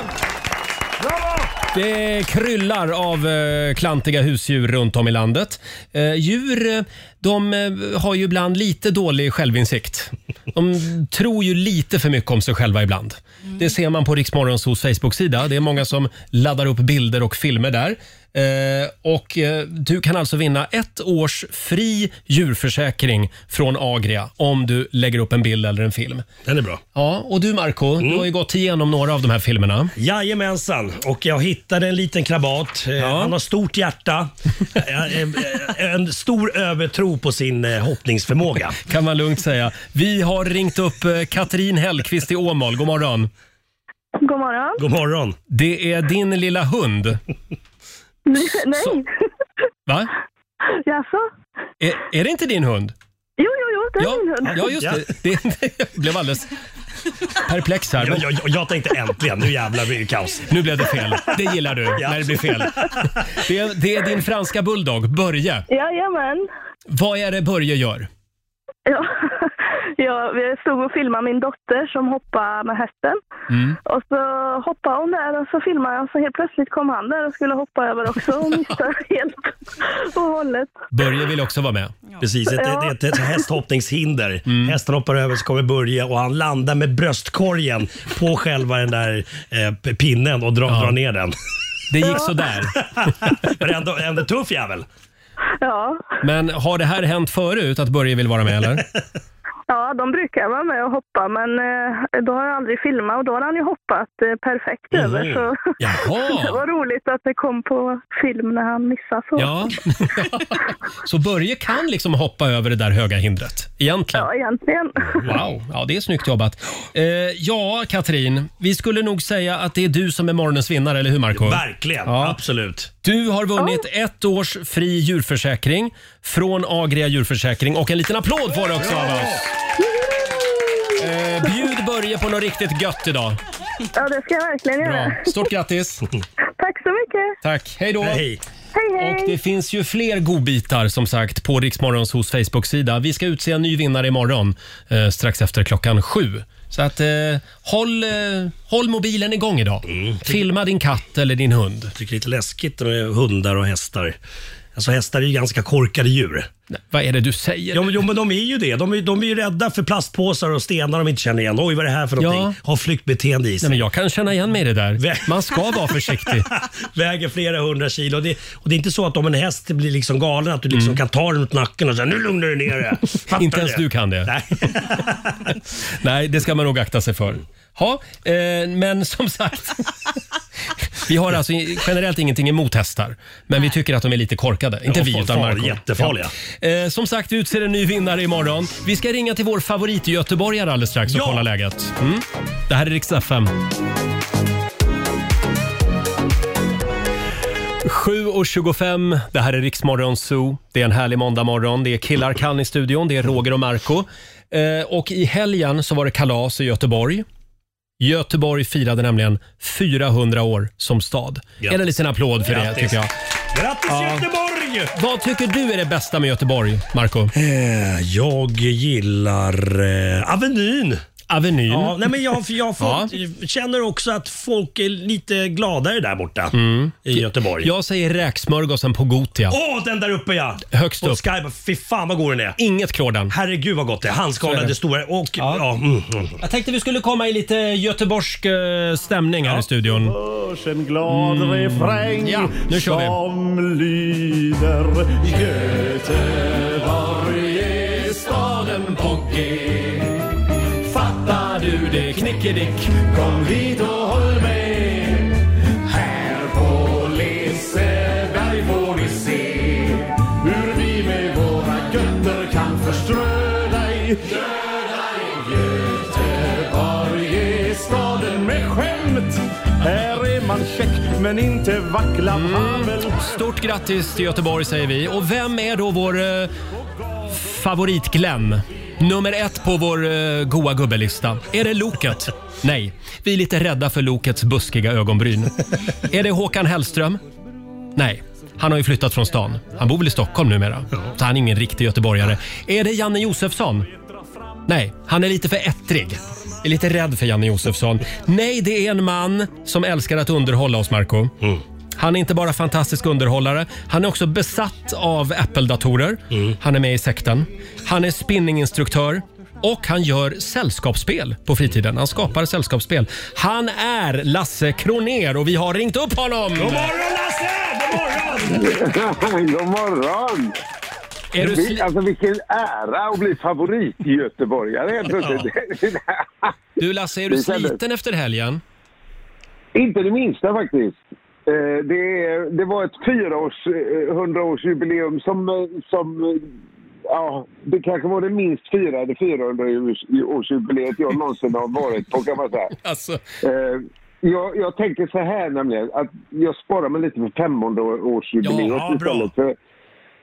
Det kryllar av eh, klantiga husdjur runt om i landet. Eh, djur eh, de eh, har ju ibland lite dålig självinsikt. De tror ju lite för mycket om sig själva ibland.
Mm.
Det ser man på Riksmorgonsos Facebook-sida. Det är många som laddar upp bilder och filmer där. Eh, och eh, Du kan alltså vinna ett års fri djurförsäkring från Agria om du lägger upp en bild eller en film.
den är bra. Mm.
Ja, och du Marco, du har ju gått igenom några av de här filmerna.
Jajamensan. Och jag hittade en liten krabat. Eh, Han har stort hjärta. Eh, eh, en stor övertro på sin eh, hoppningsförmåga.
kan man lugnt säga. Vi har ringt upp eh, Katrin Hellqvist i Åmål. God morgon.
God morgon.
God morgon.
Det är din lilla hund.
Nej,
Va?
jaså?
Är, är det inte din hund?
Jo, jo, jo, det är
Ja,
min hund.
ja just det. det. Jag blev alldeles perplex här.
Jag,
Men
jag, jag- jag tänkte äntligen, nu jävlar blir det kaos.
nu blev det fel. Det gillar du, när det blir fel. Det är, det är din franska bulldog, Börje.
Jajamän.
Vad är det Börje gör?
Ja. Ja, vi stod och filmade min dotter som hoppade med hästen.
Mm.
Och så hoppade hon där och så filmade jag. Så helt plötsligt kom han där och skulle hoppa över också och missade helt och hållet.
Börje vill också vara med. Mm.
Precis, ett,
Ja.
ett, ett, ett hästhoppningshinder. Hästen hoppar över så kommer Börje och han landar med bröstkorgen på själva den där eh, p- pinnen och drar, drar ner den.
Det gick så där.
Men ändå, ändå tuff jävel.
Ja.
Men har det här hänt förut, att Börje vill vara med eller?
ja, de brukar vara med och hoppa men eh, då har jag aldrig filmat och då har han ju hoppat eh, perfekt över. Så det
Jaha!
var roligt att det kom på film när han missade så.
Ja. Så Börje kan liksom hoppa över det där höga hindret, egentligen.
Ja, egentligen.
Wow, ja det är snyggt jobbat. Eh, ja, Katrin, vi skulle nog säga att det är du som är morgonens vinnare, eller hur Marco?
Verkligen,
Ja.
absolut.
Du har vunnit ett års fri djurförsäkring från Agria djurförsäkring och en liten applåd får du också av oss. Eh, bjud Börje på något riktigt gött idag.
Ja, det ska jag verkligen göra.
Bra. Stort grattis!
Tack så mycket.
Tack, hej då!
Hej.
Hej,
Och
hej.
det finns ju fler godbitar som sagt på Riksmorgons hos Facebook-sida. Vi ska utse en ny vinnare imorgon eh, strax efter klockan sju. Så att eh, håll, eh, håll mobilen igång idag.
Mm.
Filma din katt eller din hund.
tycker det är lite läskigt när det är hundar och hästar. Alltså hästar är ju ganska korkade djur.
Nej, vad är det du säger?
Jo, men- jo men de är ju det. De är, de är ju rädda för plastpåsar och stenar de inte känner igen. Oj vad är det här för
Ja.
någonting? Har flyktbeteende i
Nej,
sig.
men jag kan känna igen mig i det
Vä-
där. Man ska vara försiktig.
Väger flera hundra kilo. Det, och det är inte så att om en häst blir liksom galen att du liksom kan ta den mot nacken och säga nu lugnar du ner dig. Fattar
Mm. Inte ens
det?
du kan det.
Nej.
Nej, det ska man nog akta sig för. Ja, eh, men som sagt. Vi har alltså generellt ingenting emot hästar, men vi tycker att de är lite korkade. Inte
Ja,
vi,
far-
utan
far-
Marco.
jättefarliga.
Ja. Eh, som sagt, vi utser en ny vinnare imorgon. Vi ska ringa till vår favorit göteborgare alldeles strax och
Ja.
kolla läget. Mm. Det här är riksdag 5. 7.25, det här är Riksmorgon Zoo. Det är en härlig måndagmorgon. Det är killar kan i studion, det är Roger och Marco. Eh, och i helgen så var det kalas i Göteborg. Göteborg firade nämligen 400 år som stad.
Grattis.
En liten applåd för det
Grattis.
tycker jag.
Grattis Göteborg!
Vad tycker du är det bästa med Göteborg, Marco?
Eh, Jag gillar eh, Avenyn.
Avenyn.
Ja, nej men jag, jag har fått, känner också att folk är lite gladare där borta i Göteborg.
Mm. Jag säger räksmörgåsen på Gotia.
Åh, den där uppe ja!
Högst
På
upp.
Skype. Fy fan vad god den är.
Inget klådan.
Herregud vad gott det är.
Så är det.
Handskalade, stora och... Ja. mm, mm.
Jag tänkte vi skulle komma i lite göteborgsk eh, stämning här i studion.
hörs en glad refräng
Mm. Ja, nu kör vi.
som lyder Göteborg är staden på G Fattar du det knickedick? Kom hit och håll med Här på Liseberg får ni se hur vi med våra götter kan förströ dig Döda i Göteborg är staden med skämt Här är man check men inte
Mm.
vacklababbel
Stort grattis till Göteborg säger vi. Och vem är då vår eh, favorit Glenn? Nummer ett på vår eh, goa gubbelista. Är det Loket? Nej, vi är lite rädda för Lokets buskiga ögonbryn. Är det Håkan Hellström? Nej, han har ju flyttat från stan. Han bor väl i Stockholm numera. Så han är ingen riktig göteborgare. Är det Janne Josefsson? Nej, han är lite för ettrig. Är lite rädd för Janne Josefsson. Nej, det är en man som älskar att underhålla oss, Marco.
Mm.
Han är inte bara fantastisk underhållare, han är också besatt av Apple-datorer.
Mm.
Han är med i sekten. Han är spinninginstruktör och han gör sällskapsspel på fritiden. Han skapar sällskapsspel. Han är Lasse Kroner och vi har ringt upp honom!
God morgon Lasse! God morgon!
God morgon!
Är du
Vi,
sli-
alltså vilken ära att bli favorit i Göteborgare helt plötsligt.
du Lasse, är du
Det kändes-
sliten efter helgen?
Inte det minsta faktiskt. Eh, Det, är- det var ett fyraårs, eh, hundraårsjubileum som, eh, som eh, ja, det kanske var det minst firade 400-årsjubileet jag någonsin har varit på kan man säga.
Alltså,
Eh, Jag, jag tänker så här nämligen, att jag sparar mig lite för 500-årsjubileet
Ja, bra.
istället. För,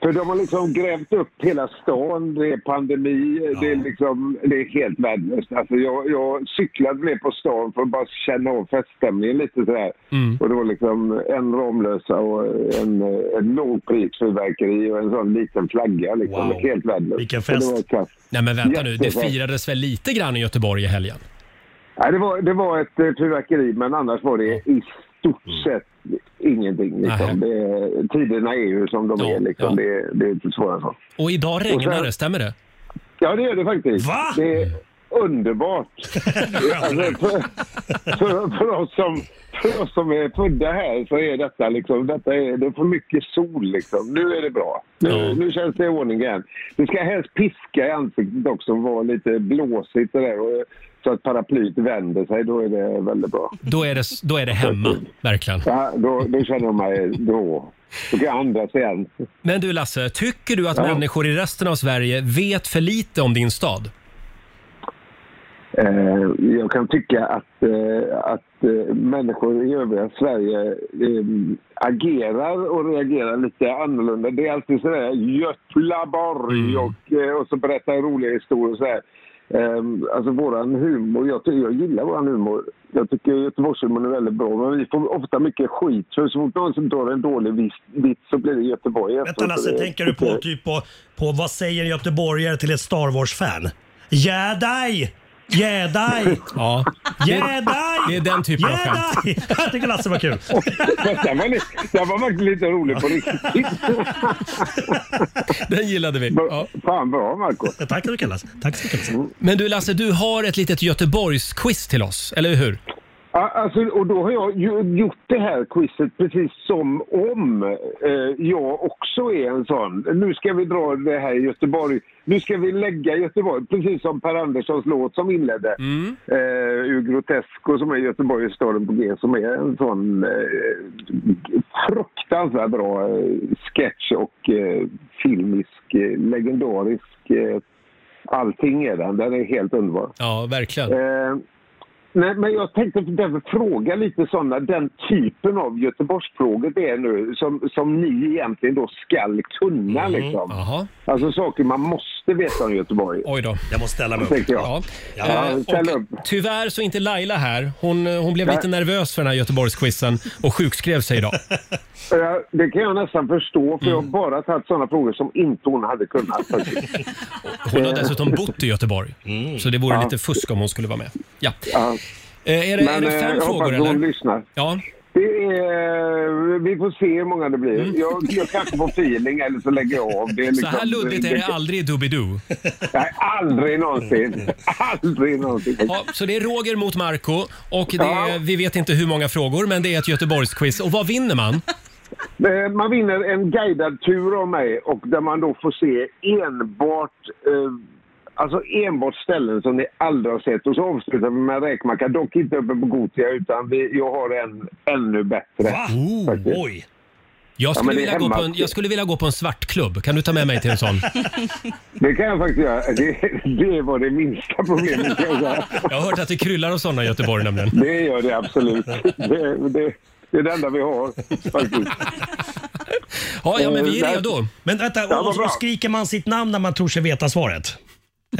för de har liksom grävt upp hela stan, det är pandemi, det, är liksom, det är helt värdelöst. Alltså jag, jag cyklade ner på stan för att bara känna av feststämningen lite sådär. Och det var liksom en Ramlösa och en, eh, en lågprisfyrverkeri och en sån liten flagga. Liksom.
Wow.
Helt värdelöst.
Vilken
Så
fest.
Det var kass.
nej men vänta nu, det
Jättebra.
firades väl lite grann i Göteborg i helgen?
Nej, det, var, det var ett eh, fyrverkeri, men annars var det i stort
Mm.
sett ingenting. Liksom.
Nej.
Det, tiderna är ju som de
Ja,
är. Liksom.
ja.
Det, det är inte svårare än så.
Och idag regnar
sen-
det, stämmer det?
Ja, det gör det faktiskt.
Va?
Det är underbart. alltså, för, för, för, oss som, för oss som är födda här så är detta liksom, detta är, det är för mycket sol liksom. Nu är det bra. Nu,
Ja.
nu känns det i ordning igen. Det ska helst piska i ansiktet också och vara lite blåsigt och där, och, så att paraplyet vänder sig. Då är det väldigt bra.
Då är det, då är det hemma, verkligen.
Ja, då, då känner jag mig då. Då kan jag andas igen.
Men du Lasse, tycker du att
Ja.
människor i resten av Sverige vet för lite om din stad?
Eh, jag kan tycka att, eh, att eh, människor i övriga Sverige eh, agerar och reagerar lite annorlunda.
Mm.
Det är alltid sådär Götlaborg och, eh, och så berättar jag roliga historier. Så här. Ehm, alltså våran humor, jag, ty- jag gillar våran humor. Jag tycker Göteborgshumorn är väldigt bra, men vi får ofta mycket skit. För så fort någon som drar en dålig vis- vits så blir det Göteborg.
Vänta Lasse, tänker du på typ på, på vad säger göteborgare till ett Star Wars-fan? Jedi! Jedi!
Ja.
Jedi!
Det är den typen av skämt.
Jedi! Jag tycker Lasse var kul.
Den var, li- den var faktiskt lite rolig på riktigt.
Den gillade vi. Ja.
Fan bra Marco
Ja, Tack så mycket Lasse. Tack så mycket Lasse.
Men du Lasse, du har ett litet Göteborgsquiz till oss, eller hur?
Ja, Alltså, och då har jag ju gjort det här quizet precis som om eh, jag också är en sån. Nu ska vi dra det här i Göteborg. Nu ska vi lägga Göteborg, precis som Per Anderssons låt som inledde.
Mm.
Mm.
Eh, ur Grotesco som är Göteborg staden på G som är en sån eh, fruktansvärt bra eh, sketch och eh, filmisk, eh, legendarisk. Eh, allting är den. Den är helt underbar.
Ja, verkligen.
Eh, nej, men jag tänkte därför fråga lite sådana, den typen av Göteborgsfrågor det är nu som, som ni egentligen då skall kunna liksom.
Mm. Jaha,
Alltså saker man måste veta om Göteborg,
oj då.
Jag måste ställa mig upp.
tänkte jag.
Ja.
Ja,
Eh,
ställ
och
upp.
tyvärr så är inte Laila här. Hon, eh, hon blev lite nervös för den här Göteborgsquizen och sjukskrev sig idag.
Eh, Det kan jag nästan förstå för jag
Mm.
har bara tagit sådana frågor som inte hon hade kunnat. faktiskt.
Hon har dessutom bott i Göteborg,
Mm.
så det vore lite fusk om hon skulle vara med. Ja.
Ja.
Eh, Är det, är
Men
det
eh,
fem
jag hoppas
frågor
hon
eller?
lyssnar.
Ja,
Det är, eh, vi får se hur många det blir. Jag, jag kanske får feeling eller så lägger jag av. Det är
Mm. så
liksom,
här luddigt är det aldrig i Doobidoo.
Nej, aldrig någonsin. Aldrig någonsin.
Ja, så det är Roger mot Marco och det är,
Ja.
vi vet inte hur många frågor men det är ett Göteborgsquiz. Och vad vinner man?
Eh, Man vinner en guidad tur av mig och där man då får se enbart eh, Alltså enbart ställen som ni aldrig har sett och så avslutar vi med en räkmacka. Dock inte uppe på Gothia utan vi, jag har en ännu bättre.
Va?
Oh,
faktiskt.
Oj!
Jag
men
skulle,
det är
vilja gå
hemma.
på en, jag skulle vilja gå på en svartklubb. Kan du ta med mig till en sån?
Det kan jag faktiskt göra. Det, det var det minsta problemet kan jag säga.
Jag har hört att det kryllar av såna i Göteborg nämligen.
Det gör det absolut. Det, det, det är det enda vi har faktiskt.
Ja, ja men vi är
Eh,
redo.
Men vänta,
vad
och,
bra.
och skriker man sitt namn när man tror sig veta svaret?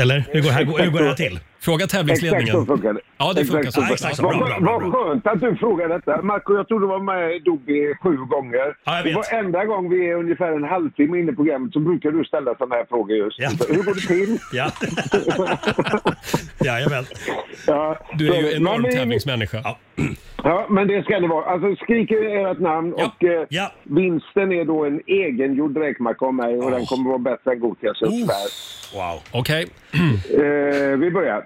Eller? Hur går, här, hur går det här till?
Fråga
Exakt så
tävlingsledningen.
funkar det.
Ja, det funkar
Exakt
så.
funkar det.
Ja, exakt så.
Bra,
Vad-
bra, bra,
Vad skönt att du frågar detta. Marco, jag tror du var med i Dobby sju gånger.
Ja, jag vet.
Och Varenda gång vi är ungefär en halvtimme inne i programmet så brukar du ställa sådana här frågor just.
Ja.
Så, Hur går det till?
Ja. Jajamän.
Ja,
Du är
så-
ju en enorm
men, det-
tävlingsmänniska.
Ja, men det ska det vara. Alltså skriker ert namn
Ja.
och eh,
Ja.
vinsten är då en egengjord räkmacka av mig och den kommer vara bättre än Gotias uppvärd.
Wow.
Okej. Mm.
Eh, vi börjar.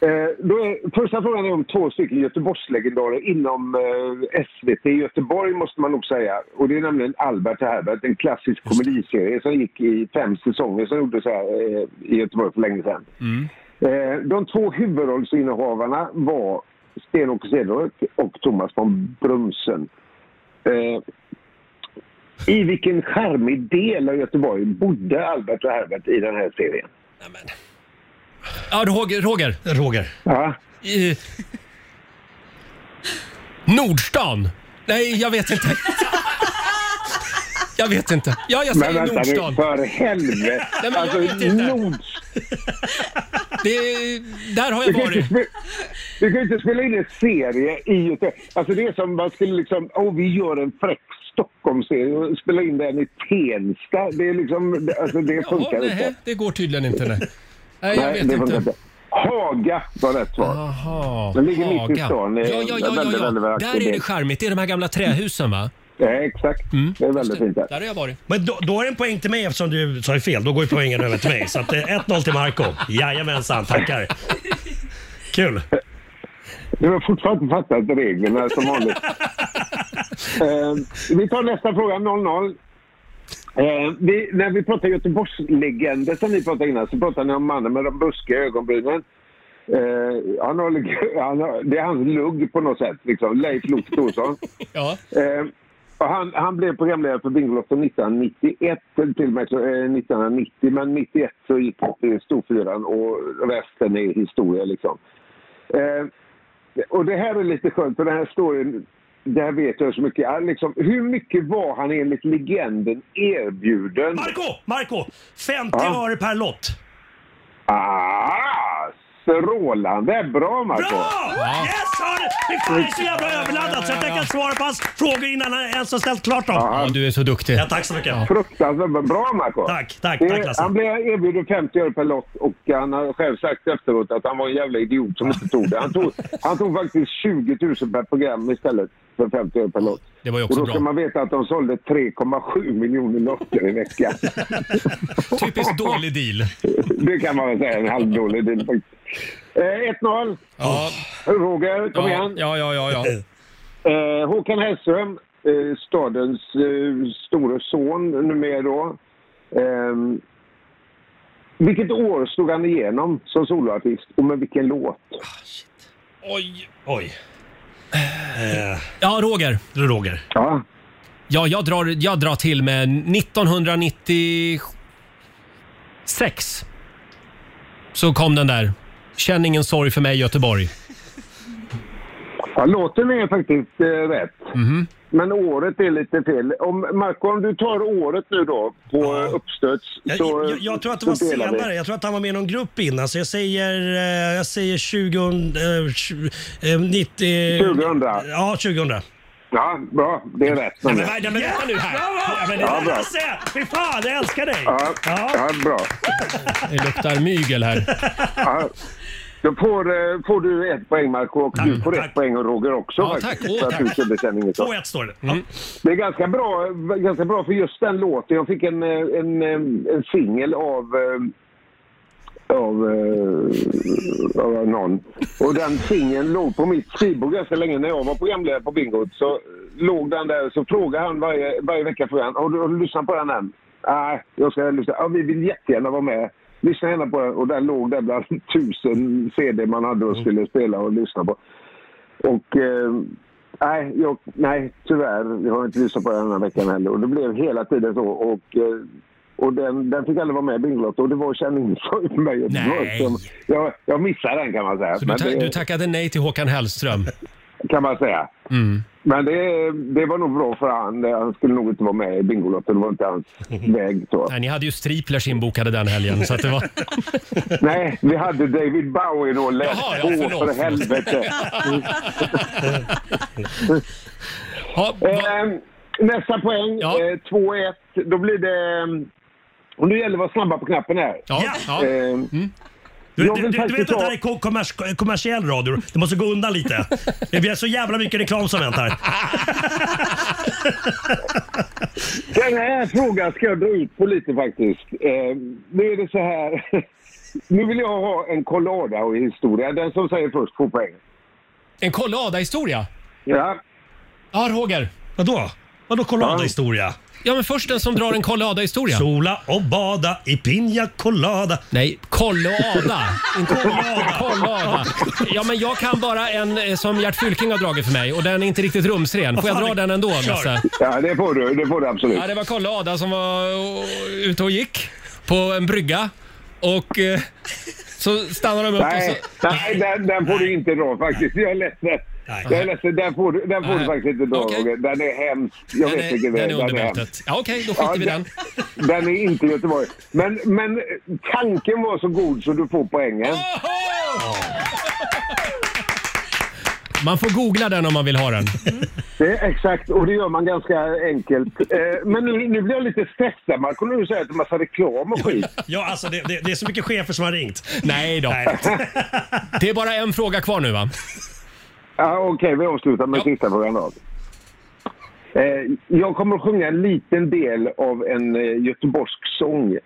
Eh, då är, första frågan är om två stycken Göteborgslegendarer inom eh, SVT i Göteborg måste man nog säga. Och det är nämligen Albert och Herbert, en klassisk komediserie som gick i fem säsonger som gjordes här eh, i Göteborg för länge sedan.
Mm.
Eh, de två huvudrollsinnehavarna var Sten-Åke Cederhök och Thomas von Brumsen. Eh, I vilken charmig del av Göteborg bodde Albert och Herbert i den här serien?
Ja, Roger. Roger.
Roger.
Ja.
Eh, Nordstan? Nej, jag vet inte. Jag vet inte. Ja, jag
Men
säger
vänta nu,
Nordstan.
för helvete!
men jag
alltså,
vet inte.
Nords...
Det, där har
Du
jag
kan, ju
varit.
inte spela, du kan ju inte spela in en serie i Göteborg. Alltså det är som man skulle liksom, åh vi gör en fräck Stockholmsserie och spela in den i Tensta. Det är liksom, det- alltså det
Jaha,
funkar
nej,
inte.
det går tydligen inte. Nej, nej jag
Nej,
vet
det funkar
inte.
Haga var rätt svar.
Jaha,
Den ligger mitt i
Haga.
stan. Det är
Ja, ja, ja,
väldigt,
ja,
väldigt
ja.
vackert.
Där är det charmigt. Det är de här gamla trähusen, va?
Ja, exakt. Det är väldigt fint där.
Där har jag varit.
Men då, då är det en poäng till mig eftersom du sa fel. Då går ju poängen över till mig. Så att det är 1-0 till Marco Jajamensan, tackar. Kul.
Du har fortfarande inte fattat reglerna som vanligt. eh, vi tar nästa fråga, 00. Eh, vi, när vi pratar Göteborgslegender som ni pratade innan så pratar ni om mannen med de buskiga ögonbrynen. Eh, han har, lig- han har, det är hans lugg på något sätt, liksom. Leif Lok Thorsson.
Ja.
Eh, och han, han blev programledare för Bingolotto 1991, eller till och med så, eh, 1990, men 91 så gick han till Storfyran och resten är historia liksom. Eh, och det här är lite skönt, för den här storyn, där vet jag så mycket. Ja, Liksom, hur mycket var han enligt legenden erbjuden?
Marco Marco 50
Ja.
öre per lott.
Ah, Strålande! Bra, Marco!
Bra! Yes! Har det! Fy fan, jag är så jävla överladdad så jag tänker inte svara på hans frågor innan han ens har ställt klart dem.
Ja, du är så duktig.
Ja, tack så mycket.
Fruktansvärt bra. Bra, Marco!
Tack, tack,
Det-
tack Lasse.
Eh, Han blev erbjuden 50 öre per lott och han har själv sagt efteråt att han var en jävla idiot som inte tog det. Han tog, han tog faktiskt 20 000 per program istället för 50 öre per lott.
Det var ju
Och
också
då ska
bra.
man veta att de sålde 3,7 miljoner lotter i veckan.
Typiskt dålig deal.
Det kan man väl säga, en halvdålig deal faktiskt. Eh, 1-0.
Ja,
Roger, kom
ja,
igen.
ja, ja, ja.
Eh, Håkan Hellström, eh, stadens eh, store son numera då. Ehm, vilket år slog han igenom som soloartist och med vilken låt?
Oj.
Oj.
Ja, Roger.
Du Roger.
Ja,
Ja, jag drar, jag drar till med 1996. Så kom den där. Känn ingen sorg för mig Göteborg.
ja låten är faktiskt eh, rätt. Men året är lite fel. Om, Marco, om du tar året nu då på
Ja.
ja. uppstöds
Jag,
så...
jag, jag tror att det var
så delar vi.
senare. Jag tror att han var med i någon grupp innan. Så jag säger, eh, jag säger 20... Eh, 20 eh, 90...
2000.
Ja, 2000. Nej,
Ja, bra. Det är rätt.
men, nej, men vänta nu här. Ja, men det
Ja,
där
bra.
Lasse! Fy fan, jag älskar dig!
Ja, ja, bra.
Det luktar mygel här.
Ja. Då får, eh, får du ett poäng Marco och du får
tack.
ett poäng och Roger också
Ja,
faktiskt.
tack. Åh,
för att du
tack.
kunde känna inget av.
2-1 står det. Ja.
liksom. Det är ganska bra, ganska bra för just den låten. Jag fick en, eh, en, eh, en singel av eh, av, eh, av någon. Och den singeln låg på mitt skrivbord ganska länge när jag var programledare på Bingot. Så låg den där, så frågade han varje, varje vecka frågade han, har du, har du lyssnat på den än? Nej, jag ska lyssna. Ja, vi vill jättegärna vara med. Lyssna gärna på den. Och den låg där bland tusen CD man hade och skulle spela och lyssna på. Och eh, nej, jag, nej, tyvärr. Jag har inte lyssnat på den här veckan heller. Och det blev hela tiden så. Och, eh, och den, den fick aldrig vara med i Bingolotto och det var Kjell Nilsson för mig.
Nej.
Som- Jag, jag missade den kan man säga.
Så du,
Men
ta-
det,
du tackade nej till Håkan Hellström. Mm.
kan man säga. Men det, det var nog bra för han. Han skulle nog inte vara med i Bingolotto. Det var inte hans väg. Så.
Nej, ni hade ju striplers inbokade den helgen. Så att det var...
Nej, vi hade David Bowie då. Läs
Jaha, ja,
på
förlåt, förlåt.
för helvete.
ja, va...
Eh, nästa poäng,
Ja.
eh, 2-1. Då blir det... ehm, Och nu gäller det att vara snabba på knappen här.
ja, ja. Mm.
Eh,
Du,
Jag
du,
vill
du, du
faktiskt
vet att det här
ha-
är ko- kommers kommersiell radio. Du måste gå undan lite. Vi har så jävla mycket reklam som väntar.
Den här frågan ska jag dra ut på lite faktiskt. Eh, nu är det så här. Nu vill jag ha en Colada-historia. Den som säger först får poäng.
En Collada-historia.
Ja.
Ja, Roger.
Vadå? Vadå Colada-historia?
Ja, men först den som drar en Collada-historia.
Sola och bada i Piña Colada.
Nej, Collada. Inte Collada. Collada. Ja, men jag kan bara en eh, som Gert Fylking har dragit för mig och den är inte riktigt rumsren. Får jag dra den ändå,
Kör.
Lasse?
ja, det får du. Det får du absolut.
Ja, det var Collada som var o- ute och gick på en brygga och eh, så stannade de upp
Nej,
och så...
nej den, den får du inte dra faktiskt. Jag är ledsen.
Nej.
Jag är ledsen. Den får du, den får du
Nej.
faktiskt inte dra,
Okej.
Roger. Den är hemsk. Jag
Den
vet
är,
vilken det
den
är.
är under
hemsk.
bältet. Ja, okej, då skiter vi i den.
Den är inte Göteborg. Men, men eh, tanken var så god så du får poängen.
Oho! Man får googla den om man vill ha den.
Mm.
Det är exakt, och det gör man ganska enkelt. Eh, men nu, nu blir jag lite stressad Marco, när du säger att det är massa reklam och skit.
Ja, alltså det, det, det är så mycket chefer som har ringt.
Nej då.
Nej.
Det är bara en fråga kvar nu va?
Ja, Okej, vi avslutar med sista frågan då. Eh, jag kommer att sjunga en liten del av en eh, göteborgsk sång.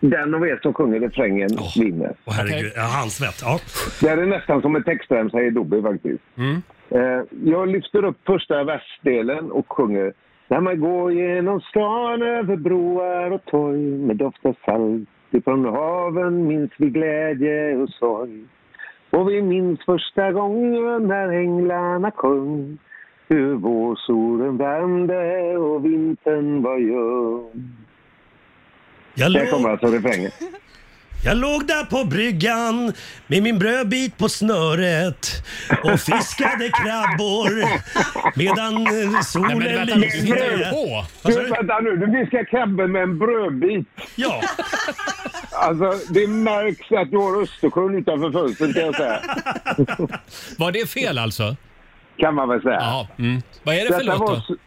Den av er som sjunger refrängen vinner.
Åh herregud,
Okej.
ja, handsvett. Ja.
Det här är nästan som en textremsa i Dobby faktiskt.
Mm.
Eh, jag lyfter upp första versdelen och sjunger När man går genom stan över broar och torg med doft av salt ifrån haven minns vi glädje och sorg. Och vi minns första gången när änglarna sjöng hur vårsolen värmde och vintern var ljum.
Jag,
Där kommer
låg,
alltså refrängen.
jag låg där på bryggan med min brödbit på snöret och fiskade krabbor medan eh,
Nej,
solen
men vänta nu, du hittar ju
lyste.
på.
Vad sa
Du,
du?
vänta nu, du viskar krabben med en brödbit.
Ja,
Alltså, det märks att du har Östersjön utanför fönstret kan jag säga.
Var det fel alltså?
Kan man väl säga.
Ja. Mm. Vad är det för
Detta
låt
var
då?
s-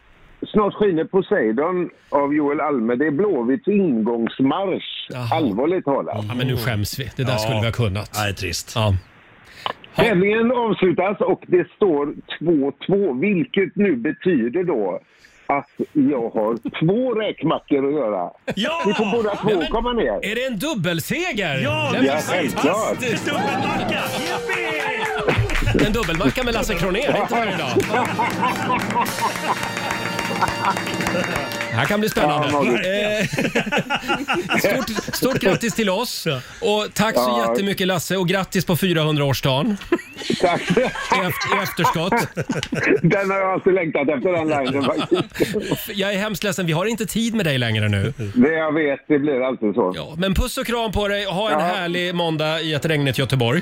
Snart skiner Poseidon av Joel Alme. Det är Blåvitts ingångsmarsch,
Jaha.
allvarligt talat.
Ja, men nu skäms vi. Det där
Ja.
skulle vi ha kunnat.
Nej, trist.
Ja.
Tävlingen avslutas och det står 2-2, vilket nu betyder då att jag har två räkmackor att göra.
Ja!
Ni får båda två komma ner.
Är det en dubbelseger?
Ja,
Nej, men
ja,
fantastiskt!
självklart.
Det stod en macka! Yippee!
En dubbelmacka med Lasse Kronér, inte varje dag. Det här kan bli spännande.
Ja, vad
Eh, stort, stort grattis till oss och tack så
Ja.
jättemycket Lasse och grattis på 400-årsdagen
Tack.
i eft- i efterskott.
Den har jag alltid längtat efter, den linen faktiskt.
Jag är hemskt ledsen, vi har inte tid med dig längre nu.
Det jag vet, det blir alltid så.
Ja, men puss och kram på dig och ha en
Ja.
härlig måndag i ett regnigt Göteborg.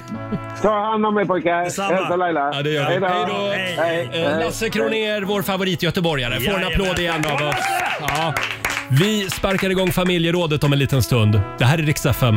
Ta hand om er pojkar.
Detsamma.
Hälsa Laila.
Ja, det gör vi.
Hej då.
Hej då.
Hej.
Hej.
Eh, Lasse Kronér, vår favoritgöteborgare, får en
Jajamän.
applåd igen av oss. Ja. Vi sparkar igång familjerådet om en liten stund. Det här är riksdag 5.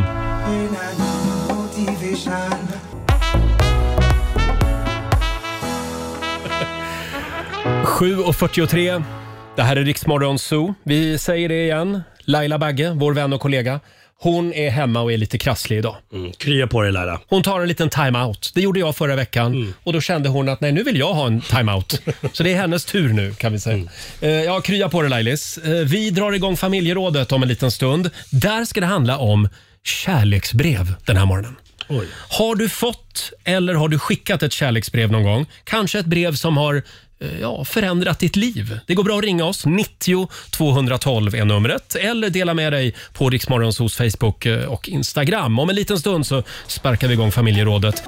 Det här är Riksmorgon Zoo. Vi säger det igen. Laila Bagge, vår vän och kollega, hon är hemma och är lite krasslig idag.
Mm, krya på dig Laila. Mm.
Hon tar en liten time-out. Det gjorde jag förra veckan och då kände hon att nej, nu vill jag ha en time-out. Så det är hennes tur nu kan vi säga.
Mm.
Eh, ja, krya på dig Lailis. Eh, vi drar igång familjerådet om en liten stund. Där ska det handla om kärleksbrev den här morgonen.
Oj.
Har du fått eller har du skickat ett kärleksbrev någon gång? Kanske ett brev som har eh, ja, förändrat ditt liv. Det går bra att ringa oss. 90 212 är numret. Eller dela med dig på Riksmorgons hos Facebook eh, och Instagram. Om en liten stund så sparkar vi igång familjerådet.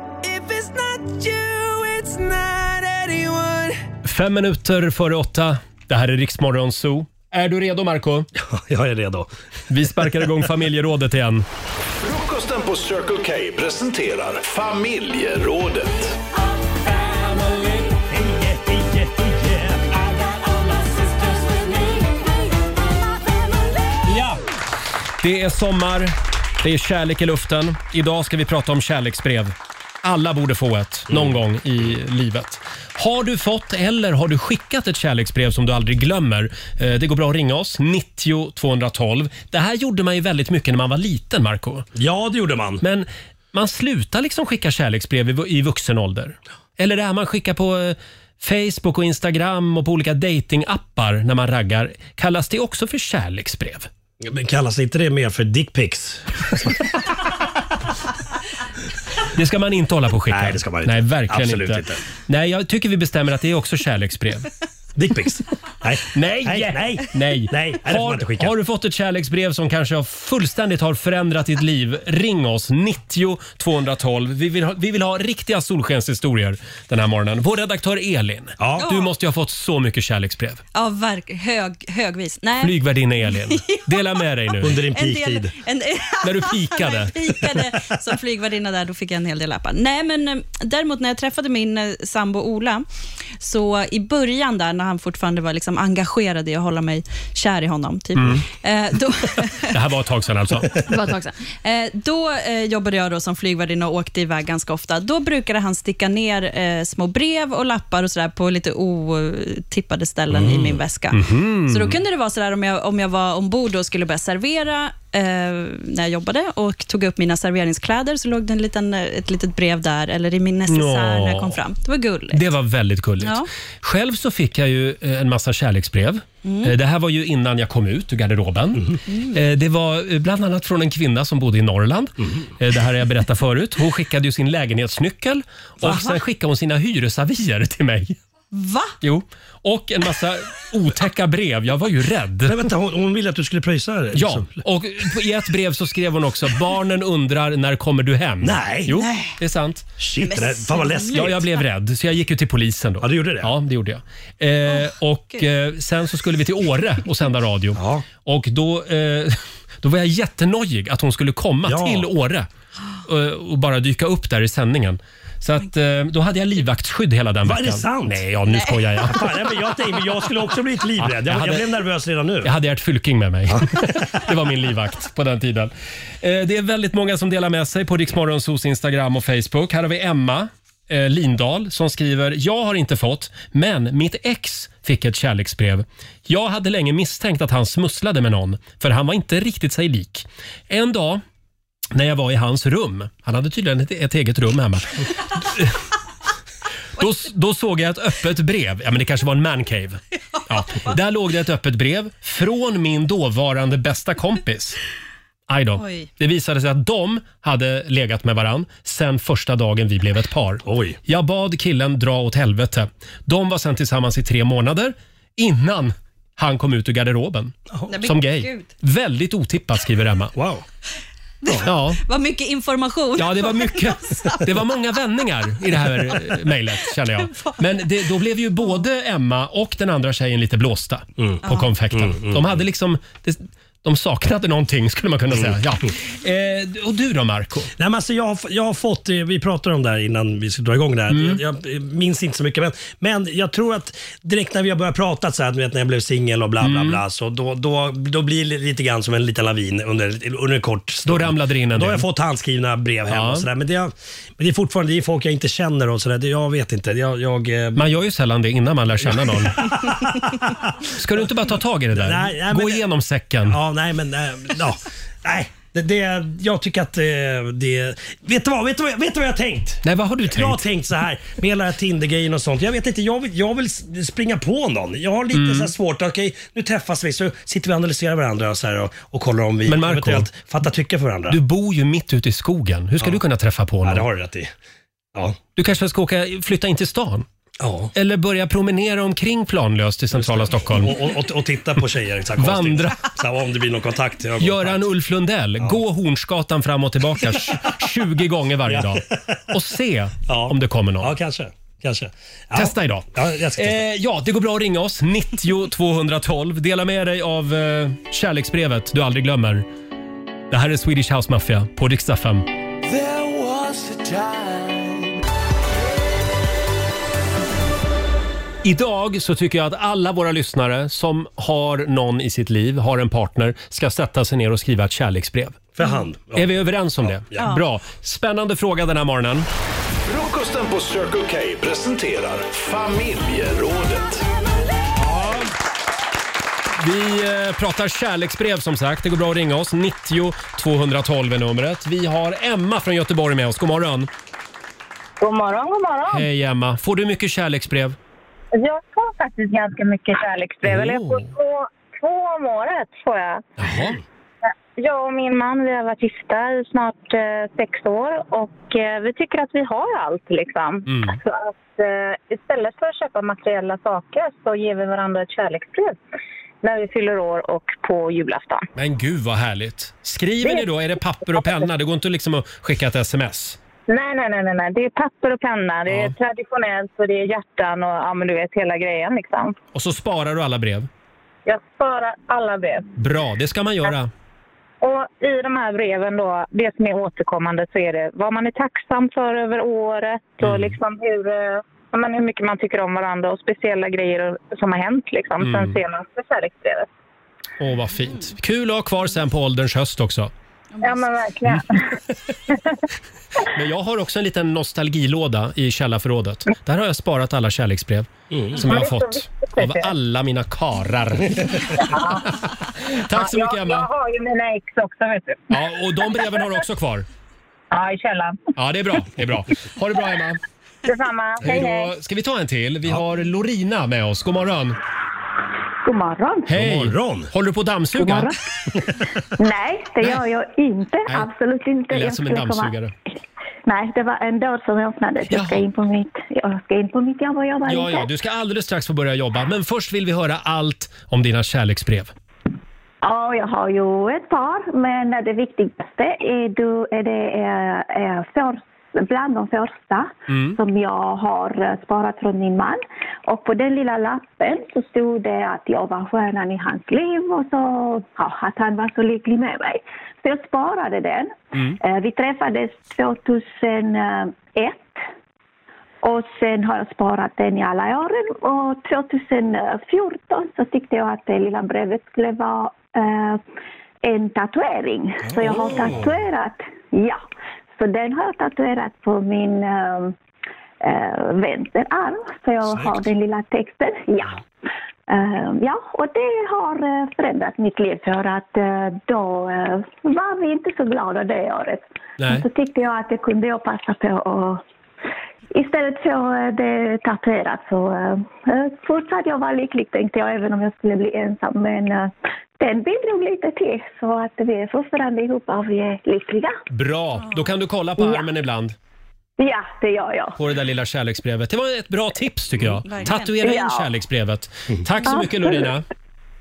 Fem minuter före åtta. Det här är Riksmorgon Zoo. Är du redo Marco?
Jag är redo.
Vi sparkar igång familjerådet igen.
Frukosten på Circle K presenterar Familjerådet.
Ja! Det är sommar, det är kärlek i luften. Idag ska vi prata om kärleksbrev. Alla borde få ett
Mm.
någon gång i livet. Har du fått eller har du skickat ett kärleksbrev som du aldrig glömmer? Eh, Det går bra att ringa oss, 90 212. Det här gjorde man ju väldigt mycket när man var liten, Marco.
Ja, det gjorde man.
Men man slutar liksom skicka kärleksbrev i vu- i vuxen ålder. Eller det här man skickar på eh, Facebook och Instagram och på olika datingappar när man raggar. Kallas det också för kärleksbrev?
Men kallas Alltså, inte det mer för dickpics?
Det ska man inte hålla på och skicka.
Nej, det ska man inte.
Nej, verkligen
Absolut
inte.
inte.
Nej, jag tycker vi bestämmer att det är också kärleksbrev.
Dickpics? Nej.
Nej!
Nej, nej.
Nej.
Nej, det får man inte
har,
skicka.
har du fått ett kärleksbrev som kanske har fullständigt har förändrat ditt liv? Ring oss, 90 212. Vi vill ha, vi vill ha riktiga solskenshistorier den här morgonen. Vår redaktör Elin,
Ja.
du måste ju ha fått så mycket kärleksbrev.
Ja, verk, hög, högvis. Nej.
Flygvärdinna Elin, dela med dig nu.
Under din
En del-
peaktid.
en-
När du pikade.
När jag pikade som flygvärdinna där, då fick jag en hel del lappar. Nej, men eh, däremot när jag träffade min eh, sambo Ola, så i början där när han fortfarande var liksom engagerad i att hålla mig kär i honom, typ,
Mm.
eh, då,
Det här var ett tag sedan alltså.
Det var ett tag sedan. Eh, då eh, jobbade jag då som flygvärdinna och åkte iväg ganska ofta. Då brukade han sticka ner eh, små brev och lappar och sådär på lite otippade ställen
Mm.
i min väska.
Mm-hmm. Mhm.
Så då kunde det vara sådär om jag, om jag var ombord och skulle börja servera eh, när jag jobbade och tog upp mina serveringskläder så låg det en liten, eh, ett litet brev där eller i min necessär när jag kom fram. Det var gulligt.
Det var väldigt gulligt.
Ja.
Själv så fick jag ju eh, en massa kärleksbrev.
Mm.
Eh, Det här var ju innan jag kom ut ur garderoben. Eh, Det var eh, bland annat från en kvinna som bodde i Norrland.
Mm.
Eh, Det här har jag berättat förut. Hon skickade ju sin lägenhetsnyckel och sen skickade hon sina hyresavier till mig.
Va?
Jo. Och en massa otäcka brev. Jag var ju rädd.
Nej, vänta, hon, hon ville att du skulle pröjsa det. liksom.
Ja, och i ett brev så skrev hon också “Barnen undrar när kommer du hem?”
Nej.
Jo, det är sant.
Shit, det där, fan vad läskigt.
Ja, jag blev rädd så jag gick ju till polisen då.
Ja, du gjorde det?
Ja, det gjorde jag. Eh, och eh, sen så skulle vi till Åre och sända radio.
Ja.
Och då, eh, då var jag jättenojig att hon skulle komma
Ja.
till Åre. eh, och bara dyka upp där i sändningen. Så att, eh, då hade jag livvaktsskydd hela den
Va, är
veckan.
det sant?
Nej, ja, nu skojar jag. Ah,
Fan, nej, men jag, tänkte, men jag skulle också blivit livrädd. Jag,
Jag
jag,
hade-
blev nervös redan nu.
Jag hade Gert Fylking med mig. Det var min livvakt på den tiden. Eh, Det är väldigt många som delar med sig på Riksmorgonsos Instagram och Facebook. Här har vi Emma eh, Lindahl som skriver “Jag har inte fått, men mitt ex fick ett kärleksbrev. Jag hade länge misstänkt att han smusslade med någon, för han var inte riktigt sig lik. En dag när jag var i hans rum, han hade tydligen ett, ett eget rum hemma, Då, då såg jag ett öppet brev. Ja, men det kanske var en mancave. Ja. Där låg det ett öppet brev från min dåvarande bästa kompis. Aj då.
Oj.
Det visade sig att de hade legat med varann sen första dagen vi blev ett par.
Oj.
Jag bad killen dra åt helvete. De var sen tillsammans i tre månader innan han kom ut ur garderoben.
Nej, men
Som gay.
gud.
Väldigt otippat, skriver Emma.
Wow.
Ja.
Vad mycket information.
Ja, det var mycket. Det var många vändningar i det här eh, mejlet känner jag. Men det, då blev ju både Emma och den andra tjejen lite blåsta
Mm.
på konfekten. De hade liksom... Det, de saknade någonting skulle man kunna säga. Ja. Eh, och du då Marco?
Mm. Nej, men alltså jag, har- jag har fått, eh, vi pratade om det här innan vi skulle dra igång det här.
Mm.
Jag, jag eh, minns inte så mycket, men, men jag tror att direkt när vi har börjat prata, så här, du vet, när jag blev singel och bla
Mm.
bla bla, så då, då, då blir det lite grann som en liten lavin under, under en kort stund.
Då ramlade det in en
Då har
del.
jag fått handskrivna brev hem
Ja.
och sådär. Men, det, är- men det är fortfarande det är folk jag inte känner och sådär. Det- Jag vet inte. Jag, jag, eh,
Man gör ju sällan det innan man lär känna någon. Ska du inte bara ta tag i det där?
Nej, nej,
Gå
men-
igenom säcken.
Ja, nej men... eh, ja. nej, det, det, jag tycker att eh, det... Vet du vad, vet du vad, jag- vet du vad jag har tänkt?
Nej, vad har du
Jag har
tänkt?
tänkt så här med hela den här Tinder-grejen och sånt. Jag vet inte, jag vill, jag vill s- springa på någon. Jag har lite
Mm.
så här svårt, okej nu träffas vi så sitter vi och analyserar varandra och, så här och, och kollar om vi
Men Marco,
eventuellt fattar tycke för varandra.
Du bor ju mitt ute i skogen. Hur ska du kunna träffa på
ja, det
någon?
har du rätt i. Ja.
Du kanske ska åka, flytta in till stan?
ja.
Eller börja promenera omkring planlöst i centrala Stockholm?
Och, och, och, och titta på tjejer. Så här, konstigt.
Vandra.
Så här, om det blir någon kontakt. ögonkontakt.
Göran Ulf Lundell, gå Hornsgatan fram och tillbaka 20 gånger varje dag och se
Ja.
om det kommer någon.
Ja, kanske. kanske. Ja.
Testa idag.
Ja, jag ska testa.
Eh, ja, det går bra att ringa oss. 90 212. Dela med dig av eh, kärleksbrevet du aldrig glömmer. Det här är Swedish House Mafia på Rix FM. Idag så tycker jag att alla våra lyssnare som har någon i sitt liv, har en partner, ska sätta sig ner och skriva ett kärleksbrev. Mm.
För hand. Ja.
Är vi överens om det?
Ja.
Bra. Spännande fråga den här morgonen.
Frukosten på Circle K presenterar Familjerådet.
Vi eh, pratar kärleksbrev som sagt. Det går bra att ringa oss. 90 212 är numret. Vi har Emma från Göteborg med oss. God morgon.
God morgon, god morgon.
Hej Emma. Får du mycket kärleksbrev?
Jag får faktiskt ganska mycket kärleksbrev. Eller jag får
Oh.
två, två om året. Får jag.
Jaha.
jag och min man vi har varit gifta i snart eh, sex år och eh, vi tycker att vi har allt. Liksom.
Mm.
Så att, eh, istället för att köpa materiella saker så ger vi varandra ett kärleksbrev när vi fyller år och på julafton.
Men gud vad härligt. Skriver ni då? Är det papper och penna? Det går inte liksom att skicka ett sms?
Nej, nej, nej, nej, nej. det är papper och penna. Det är
Ja.
traditionellt och det är hjärtan och ja, men du vet hela grejen. Liksom.
Och så sparar du alla brev?
Jag sparar alla brev.
Bra, det ska man göra.
Och i de här breven då, det som är återkommande så är det vad man är tacksam för över året och liksom hur, eh, ja, men hur mycket man tycker om varandra och speciella grejer som har hänt liksom sen senaste kärleksbrevet.
Åh, vad fint. Kul att ha kvar sen på ålderns höst också.
Ja men verkligen.
Men jag har också en liten nostalgilåda i källarförrådet. Där har jag sparat alla kärleksbrev
Mm.
som jag har
Ja, det är så
fått
viktigt,
av
vet du.
alla mina karar. Mm. Tack så mycket
jag, jag
Emma.
har ju mina ex också vet du.
Ja, och de breven har du också kvar.
Ja, i källaren.
Ja, det är bra. Det är bra. Ha det bra Emma.
Detsamma. Hej hej.
Då ska vi ta en till? Vi har Lorina med oss. God morgon.
God morgon.
Hej.
God morgon.
Håller du på att dammsuga?
Nej, det gör jag inte.
Nej.
Absolut inte.
Det lät
Jag
som en
skulle komma-
dammsugare.
Nej, det var en dörr som öppnades. Jag ska
Jaha.
in på mitt, jag ska in på mitt jobb och jobba
Ja,
lite.
ja, du ska alldeles strax få börja jobba. Men först vill vi höra allt om dina kärleksbrev.
Ja, jag har ju ett par, men det viktigaste är, du, är det är, är för bland de första
Mm.
som jag har eh, sparat från min man. Och på den lilla lappen så stod det att jag var stjärnan i hans liv och så, ja, att han var så lycklig med mig. Så jag sparade den. Eh, Vi träffades 2001 och sen har jag sparat den i alla åren. Och 2014 så tyckte jag att det lilla brevet skulle vara eh, en tatuering. Så jag har
Oh.
tatuerat, ja. Så den har jag tatuerat på min eh, eh, vänsterarm. Så jag har den lilla texten, ja. Eh, ja, och det har eh, förändrat mitt liv för att eh, då eh, var vi inte så glada det året.
Nej.
Så tyckte jag att det kunde jag passa på att Istället för eh, det tatuerat så eh, fortsatte jag vara lycklig tänkte jag även om jag skulle bli ensam. Men eh, den bidrog lite till så att vi är fortfarande ihop och vi är lyckliga.
Bra, då kan du kolla på armen ibland.
Ja, det gör jag.
På det där lilla kärleksbrevet. Det var ett bra tips tycker jag.
Mm, verkligen.
Tatuera in
Ja.
kärleksbrevet. Tack så
Ja.
mycket Lorina.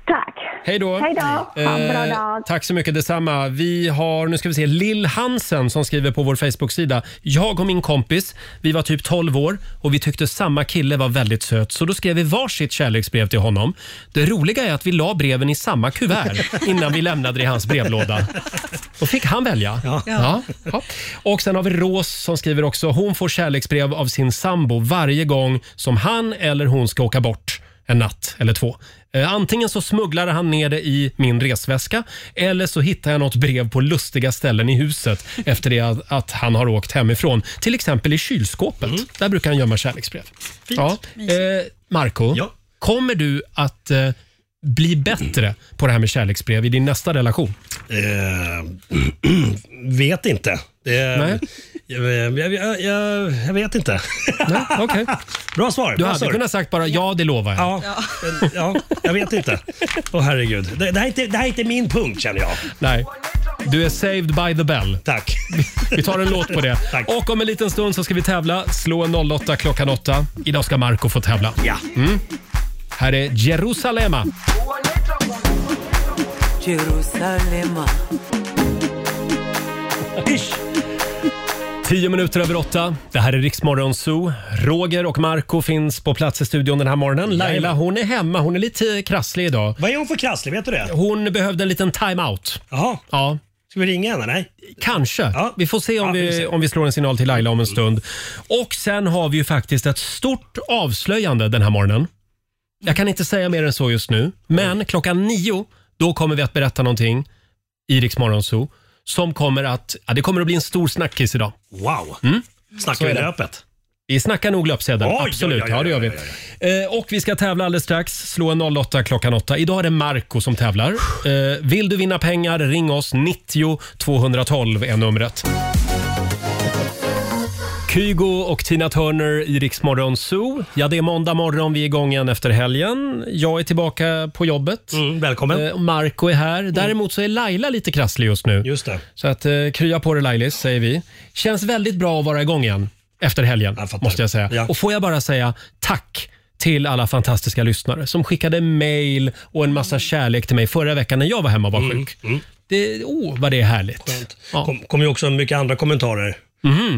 Tack!
Hej då!
Hej då! Ha en bra
Eh,
dag!
Tack så mycket detsamma. Vi har, nu ska vi se, Lill Hansen som skriver på vår Facebook-sida. Jag och min kompis, vi var typ 12 år och vi tyckte samma kille var väldigt söt så då skrev vi varsitt kärleksbrev till honom. Det roliga är att vi la breven i samma kuvert innan vi lämnade det i hans brevlåda. Då fick han välja. Ja. Ja. Och sen har vi Ros som skriver också, hon får kärleksbrev av sin sambo varje gång som han eller hon ska åka bort en natt eller två. Eh, Antingen så smugglar han ner det i min resväska eller så hittar jag något brev på lustiga ställen i huset efter det att, att han har åkt hemifrån. Till exempel i kylskåpet. Där brukar han gömma kärleksbrev. Ja. Eh, Marco, kommer du att eh, bli bättre på det här med kärleksbrev i din nästa relation?
vet inte. Det-
Nej.
Jag, jag, jag, jag, jag vet inte.
okay.
Bra svar.
Du
bra
hade
svar.
kunnat sagt bara ja, det lovar jag.
Ja, ja. jag vet inte. Åh herregud. Det, det, här är inte, det här är inte min punkt känner jag.
Nej. Du är saved by the bell.
Tack.
Vi tar en låt på det. Och om en liten stund så ska vi tävla. Slå en 08 klockan 8. Idag ska Marco få tävla.
Ja.
Mm. Här är Jerusalema.
Jerusalema.
Ish.
Tio minuter över åtta. Det här är Riksmorgon Zoo. Roger och Marco finns på plats i studion den här morgonen. Laila hon är hemma. Hon är lite krasslig idag.
Vad är hon för krasslig? Vet du det?
Hon behövde en liten time-out.
Jaha.
Ja.
Ska vi ringa henne? Nej?
Kanske. Vi får se om, vi, om vi slår en signal till Laila om en stund. Och sen har vi ju faktiskt ett stort avslöjande den här morgonen. Jag kan inte säga mer än så just nu, men klockan nio då kommer vi att berätta någonting i Rix Morgon Zoo som kommer att, ja, det kommer att bli en stor snackis idag.
Wow.
Mm.
Snackar
Så
vi
är det.
löpet?
Vi snackar nog löpsedeln,
Oj, oj, oj,
absolut.
oj,
Ja, det gör vi.
oj,
Eh, Och vi ska tävla alldeles strax. Slå en 08 klockan 8. Idag är det Marco som tävlar. Eh, Vill du vinna pengar, ring oss. 90 212 är numret. Kygo och Tina Turner i Rix Morgon Zoo. Ja, det är måndag morgon. Vi är igång igen efter helgen. Jag är tillbaka på jobbet.
Mm, välkommen.
Eh, och Marco är här. Däremot så är Laila lite krasslig just nu.
Just det.
Så att eh, krya på dig Lailis, säger vi. Känns väldigt bra att vara igång igen efter helgen, måste jag säga. Och får jag bara säga tack till alla fantastiska lyssnare som skickade mail och en massa kärlek till mig förra veckan när jag var hemma och
Mm.
var sjuk. Det, oh, vad det är härligt. Ja. Mhm.
kom, kom ju också mycket andra kommentarer.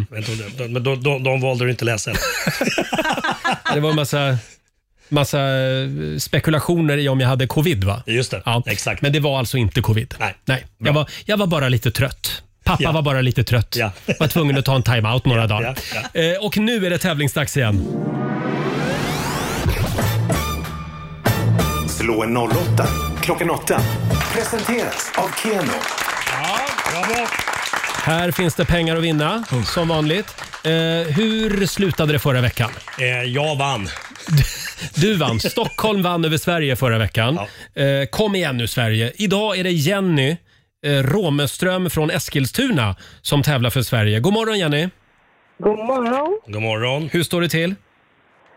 Jag vet inte om det- Men de, de, de valde du inte läsa än.
Det var en massa, massa eh, spekulationer i om jag hade covid va?
Just det,
ja. exakt. Men det var alltså inte covid. Nej. Nej. Jag, var, jag var bara lite trött. Pappa var bara lite trött. Var tvungen att ta en time-out några dagar. Eh, Och nu är det tävlingsdags igen.
Slå en 08 klockan 8. Presenteras av Keno.
Här finns det pengar att vinna, som vanligt. Eh, hur slutade det förra veckan?
Eh, jag vann.
Du vann. Stockholm vann över Sverige förra veckan. Eh, kom igen nu Sverige. Idag är det Jenny eh, Romeström från Eskilstuna som tävlar för Sverige. God morgon Jenny.
God morgon.
God morgon.
Hur står det till?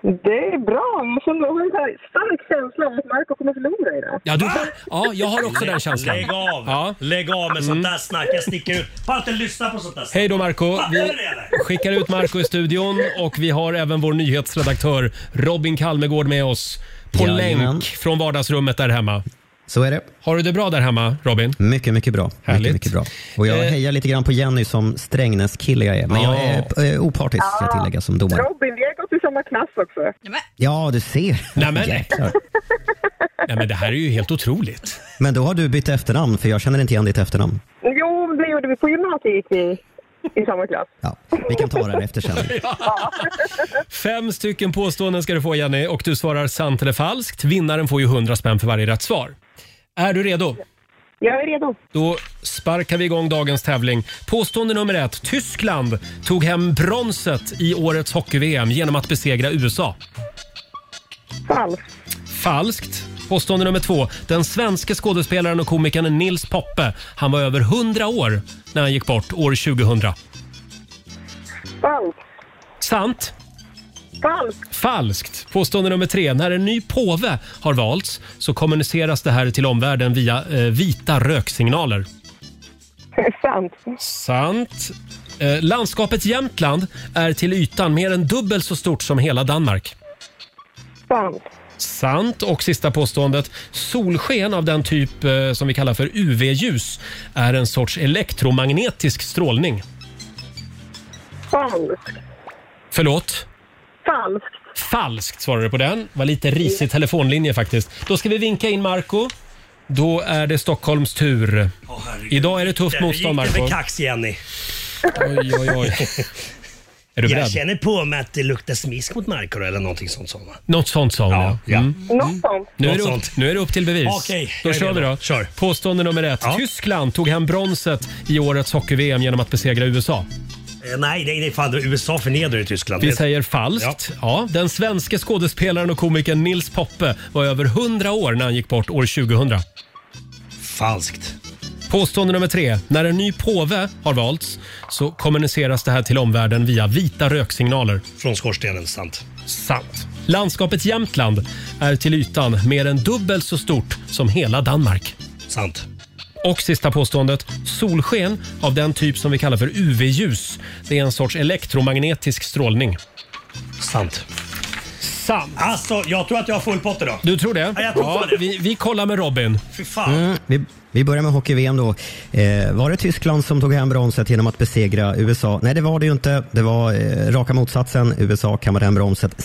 Det är bra. Jag känner- jag har en så här stark känsla av att Marco kommer förlora idag.
Ja, du, ja jag har också den känslan.
Lägg av.
Ja. Mm.
Lägg av med sånt där snack. Jag sticker ut. Bara inte lyssna på sånt där snack.
Hej då Marco. Vi skickar ut Marco i studion och vi har även vår nyhetsredaktör Robin Kalmegård med oss på
Jajamän.
länk från vardagsrummet där hemma.
Så är det.
Har du det bra där hemma, Robin?
Mycket, mycket bra.
Härligt.
Mycket, mycket bra. Och jag
Eh.
hejar lite grann på Jenny som Strängnäs-kille jag är. Men jag är eh, opartisk, ska jag tillägga, som domare.
Robin, vi har gått i samma klass också.
Ja, du ser.
Nej, men-
Jäklar.
Nej, men det här är ju helt otroligt.
Men då har du bytt efternamn, för jag känner inte igen ditt efternamn.
Jo, det gjorde vi på gymnasiet gick vi i samma klass.
Vi kan ta det här efter sen.
Fem stycken påståenden ska du få Jenny och du svarar sant eller falskt. Vinnaren får ju 100 spänn för varje rätt svar. Är du redo?
Jag är redo.
Då sparkar vi igång dagens tävling. Påstående nummer ett. Tyskland tog hem bronset i årets hockey-VM genom att besegra USA.
Falskt.
Falskt. Påstående nummer två. Den svenske skådespelaren och komikern Nils Poppe. Han var över 100 år när han gick bort år 2000.
Falskt.
Sant.
Falskt.
Falskt. Påstående nummer tre. När en ny påve har valts så kommuniceras det här till omvärlden via eh, vita röksignaler.
Sant.
Sant. Eh, landskapet Jämtland är till ytan mer än dubbelt så stort som hela Danmark.
Sant.
Sant. Och sista påståendet. Solsken av den typ eh, som vi kallar för UV-ljus är en sorts elektromagnetisk strålning.
Falskt.
Förlåt?
Falskt.
Falskt svarade du på den. Det var lite risig telefonlinje faktiskt. Då ska vi vinka in Marco. Då är det Stockholms tur. Idag är det tufft motstånd
gick det
Marco.
för kax, Jenny.
Oj, oj, oj. Är du
jag
beredd?
känner på mig att det luktar smisk mot Marko eller någonting sånt. sånt va?
Något sånt sa hon ja. Mm.
Något sånt.
Nu är, det
Något
upp, nu är det upp till bevis.
Okej, jag
då
är
kör vi
redo.
då. Påstående nummer ett. Tyskland tog hem bronset i årets hockey-VM genom att besegra USA.
Eh, nej, nej, nej, fan. USA förnedrar ju Tyskland.
Vi
Det-
säger falskt. Ja. den svenske skådespelaren och komikern Nils Poppe var över 100 år när han gick bort år 2000.
Falskt.
Påstående nummer tre. När en ny påve har valts så kommuniceras det här till omvärlden via vita röksignaler.
Från skorstenen, sant.
Sant. Landskapet Jämtland är till ytan mer än dubbelt så stort som hela Danmark.
Sant.
Och sista påståendet. Solsken av den typ som vi kallar för UV-ljus. Det är en sorts elektromagnetisk strålning.
Sant.
Sant.
Alltså, jag tror att jag har full pott idag.
Du tror det?
Ja, jag tror
Ja,
på det.
Vi, vi kollar med Robin.
Fy fan.
Mm, vi, vi börjar med hockey-VM då. Eh, var det Tyskland som tog hem bronset genom att besegra USA? Nej, det var det ju inte. Det var eh, raka motsatsen. USA kammade hem bronset.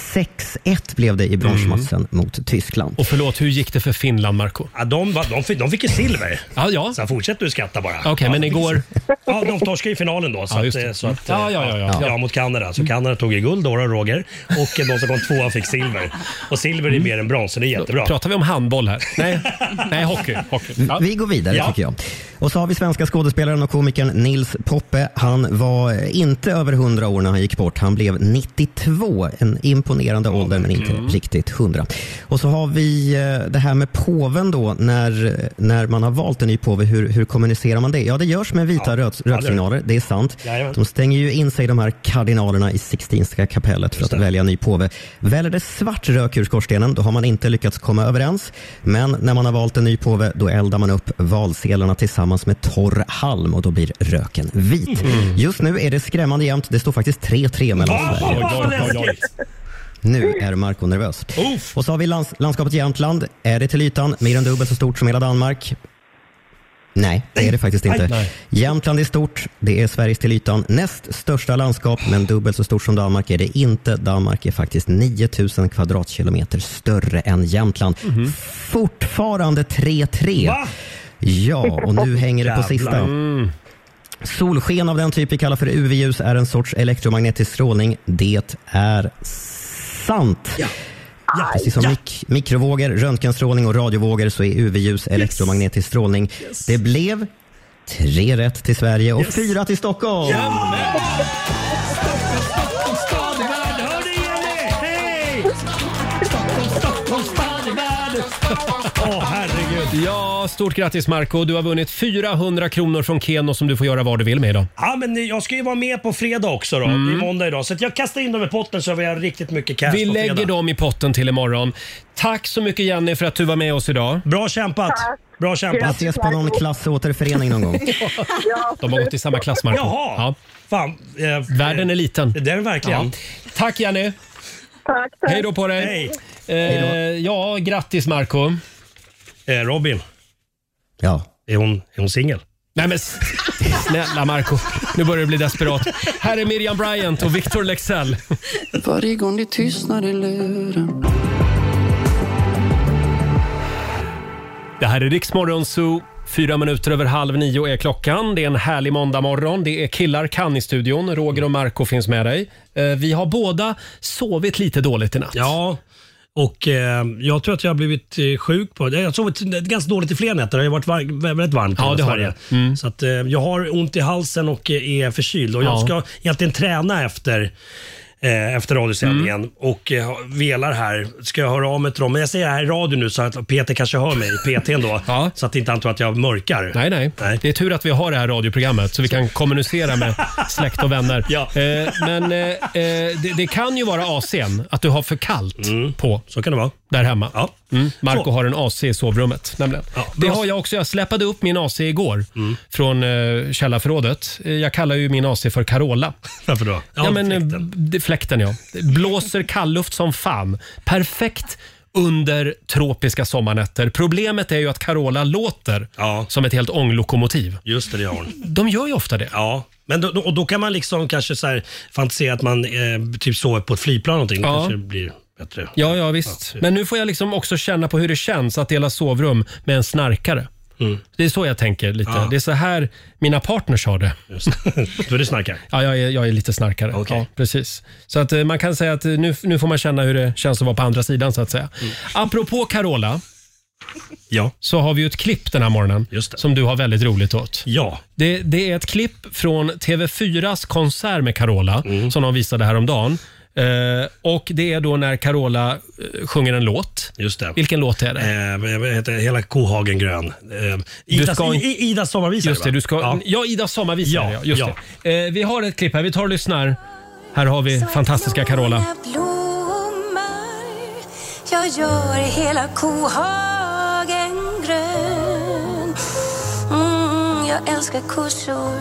6-1 blev det i bronsmatchen
Mm.
mot Tyskland.
Och förlåt, hur gick det för Finland, Marco?
Ja, de, var- de, fick, de fick ju silver.
Ja, ja.
Sen fortsätter du skratta bara.
Okej,
ja,
men
de fick-
igår-
Ja, de torskade i finalen då. Så
Ja,
ja,
just
att,
det.
eh, så att,
Ja, ja, ja, ja. Mm.
ja. mot Kanada. Så Kanada tog ju guld, då då, Roger. Och eh, de som kom tvåa fick silver. Och silver är mer än brons, så det är jättebra.
Mm. Pratar vi om handboll här? Nej, Nej hockey. hockey. Ja.
Mm. Vi går vidare tycker jag. Och så har vi svenska skådespelaren och komikern Nils Poppe. Han var inte över 100 år när han gick bort. Han blev 92. En imponerande ålder men inte riktigt 100. Och så har vi eh, det här med påven då. När, när man har valt en ny påve, hur, hur kommunicerar man det? Ja, det görs med vita röt- röksignaler. Det är sant.
Jajamän.
De stänger ju in sig, de här kardinalerna, i Sixtinska kapellet för att välja ny påve. Väljer det svart rök ur skorstenen, då har man inte lyckats komma överens. Men när man har valt en ny påve, då eldar man upp valsedlarna tillsammans med torr halm och då blir röken vit.
Mm.
Just nu är det skrämmande jämnt. Det står faktiskt 3-3 mellan
Va?
Sverige.
Oj, oj, oj, oj.
Nu är Marco nervös. Och så har vi lands landskapet Jämtland. Är det till ytan mer än dubbelt så stort som hela Danmark? Nej, det är det faktiskt
Nej.
inte.
Nej.
Jämtland är stort. Det är Sveriges till ytan näst största landskap, men dubbelt så stort som Danmark är det inte. Danmark är faktiskt 9000 kvadratkilometer större än Jämtland.
Mhm.
Fortfarande 3-3.
Va?
E. Ja, och nu hänger det på sista.
Jävlar.
Solsken av den typ vi kallar för UV-ljus är en sorts elektromagnetisk strålning. Det är sant. Precis som mik mikrovågor, röntgenstrålning och radiovågor så är UV-ljus elektromagnetisk strålning. Det blev tre rätt till Sverige och fyra till Stockholm.
Åh, herregud.
Ja, stort grattis Marco. Du har vunnit 400 kronor från Keno som du får göra vad du vill med idag.
Ja, men jag ska ju vara med på fredag också då. Det är måndag idag. Så att jag kastar in dem i potten så vi har riktigt mycket cash
Mm. Vi
på fredag.
lägger dem i potten till imorgon. Tack så mycket Jenny för att du var med oss idag.
Bra kämpat! Bra
Jag ses på någon klassåterförening någon gång.
De har gått i samma klass Marco.
Jaha. Fan, eh,
Världen är liten.
Det är den verkligen.
Tack Jenny!
Tack,
Hej då på dig! Eh, ja, grattis Marco
Eh, Robin.
Ja.
Är hon, är hon singel?
Nej men s- snälla Marco, nu börjar det bli desperat. Här är Miriam Bryant och Victor Lexell.
Varje gång det tystnar i luren
Det här är Riksmorgon Zoo. Fyra minuter över halv nio är klockan. Det är en härlig måndagmorgon. Det är killar kan i studion. Roger och Marco finns med dig. Eh, Vi har båda sovit lite dåligt i natt.
Ja, och eh, jag tror att jag har blivit eh, sjuk på Jag har sovit ganska dåligt i flera nätter. Det har ju varit var, väldigt varmt i
Ja,
hela
det har
Sverige.
det. Mm.
Så att, eh, jag har ont i halsen och eh, är förkyld. Och jag
Ja.
ska egentligen träna efter eh, efter radiosändningen
Mm.
och eh, velar här. Ska jag höra av mig till dem? Men jag säger det här i radio nu så att Peter kanske hör mig, PT då. Så att inte han tror att jag mörkar.
Nej, nej, Det är tur att vi har det här radioprogrammet så vi kan kommunicera med släkt och vänner. Eh, men eh, eh, det, det kan ju vara AC'n, att du har för kallt på.
Mm. Så kan det vara.
Där hemma. Mm. Marco
Så.
har en AC i sovrummet. Nämligen. det har jag också. Jag släpade upp min AC igår från eh, källarförrådet. Eh, Jag kallar ju min AC för Carola.
Varför då?
Ja, men, fläkten. Det, fläkten ja. Det blåser kallluft som fan. Perfekt under tropiska sommarnätter. Problemet är ju att Carola låter som ett helt ånglokomotiv.
Just det, det gör hon.
De gör ju ofta det.
Ja, men då, då, och då kan man liksom kanske så här fantisera att man eh, typ sover på ett flygplan eller någonting. Då
Ja.
kanske det blir bättre.
Ja, ja visst. Men nu får jag liksom också känna på hur det känns att dela sovrum med en snarkare. Det är så jag tänker lite.
Mm. Ja.
Det är så här mina partners har det.
Då är det snarkare.
Ja, jag är, jag är lite snarkare. Ja, precis. Så att eh, man kan säga att eh, nu, nu får man känna hur det känns att vara på andra sidan så att säga.
Mm.
Apropå Carola.
Ja.
Så har vi ju ett klipp den här morgonen som du har väldigt roligt åt.
Ja.
Det, det är ett klipp från TV4s konsert med Carola
Mm.
som de visade häromdagen. Eh, och det är då när Carola eh, sjunger en låt.
Just det.
Vilken låt är det?
Eh, vad heter det? hela kohagen grön. Eh, Idas,
ska-
I- I- Idas sommarvisa
Just det,
va?
du ska... Ja, Ida sommarvisare. Ja, just
ja.
Det. Eh, vi har ett klipp här. Vi tar och lyssnar. Här har vi fantastiska Carola.
blommar Jag gör hela kohagen grön mm, Jag älskar kossor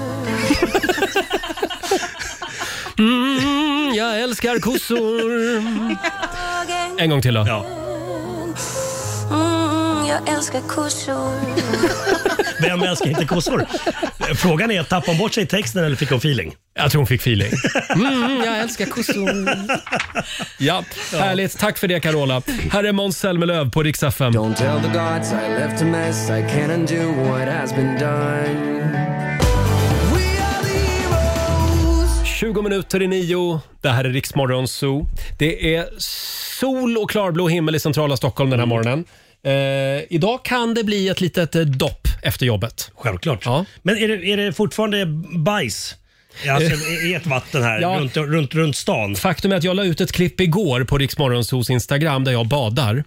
Mm, jag älskar kossor. En gång till då.
mm, Jag älskar kossor
Vem älskar inte kossor? Eh, Frågan är, tappade hon bort sig i texten eller fick hon feeling?
Jag tror hon fick feeling. Mm, jag älskar kossor. Ja, härligt. Tack för det Carola. Här är Måns Zelmerlöw på Rix FM.
Tell the gods I left a mess, I can't undo what has been done.
20 minuter i nio. Det här är Riksmorgon Zoo. Det är sol och klarblå himmel i centrala Stockholm den
Mm.
här morgonen. Eh, idag kan det bli ett litet eh, dopp efter jobbet.
Självklart.
Ja.
Men är det, är det fortfarande bajs? Alltså, i- I ett vatten här
Ja.
runt, runt, runt stan?
Faktum är att jag la ut ett klipp igår på Riksmorgonsos Instagram där jag badar.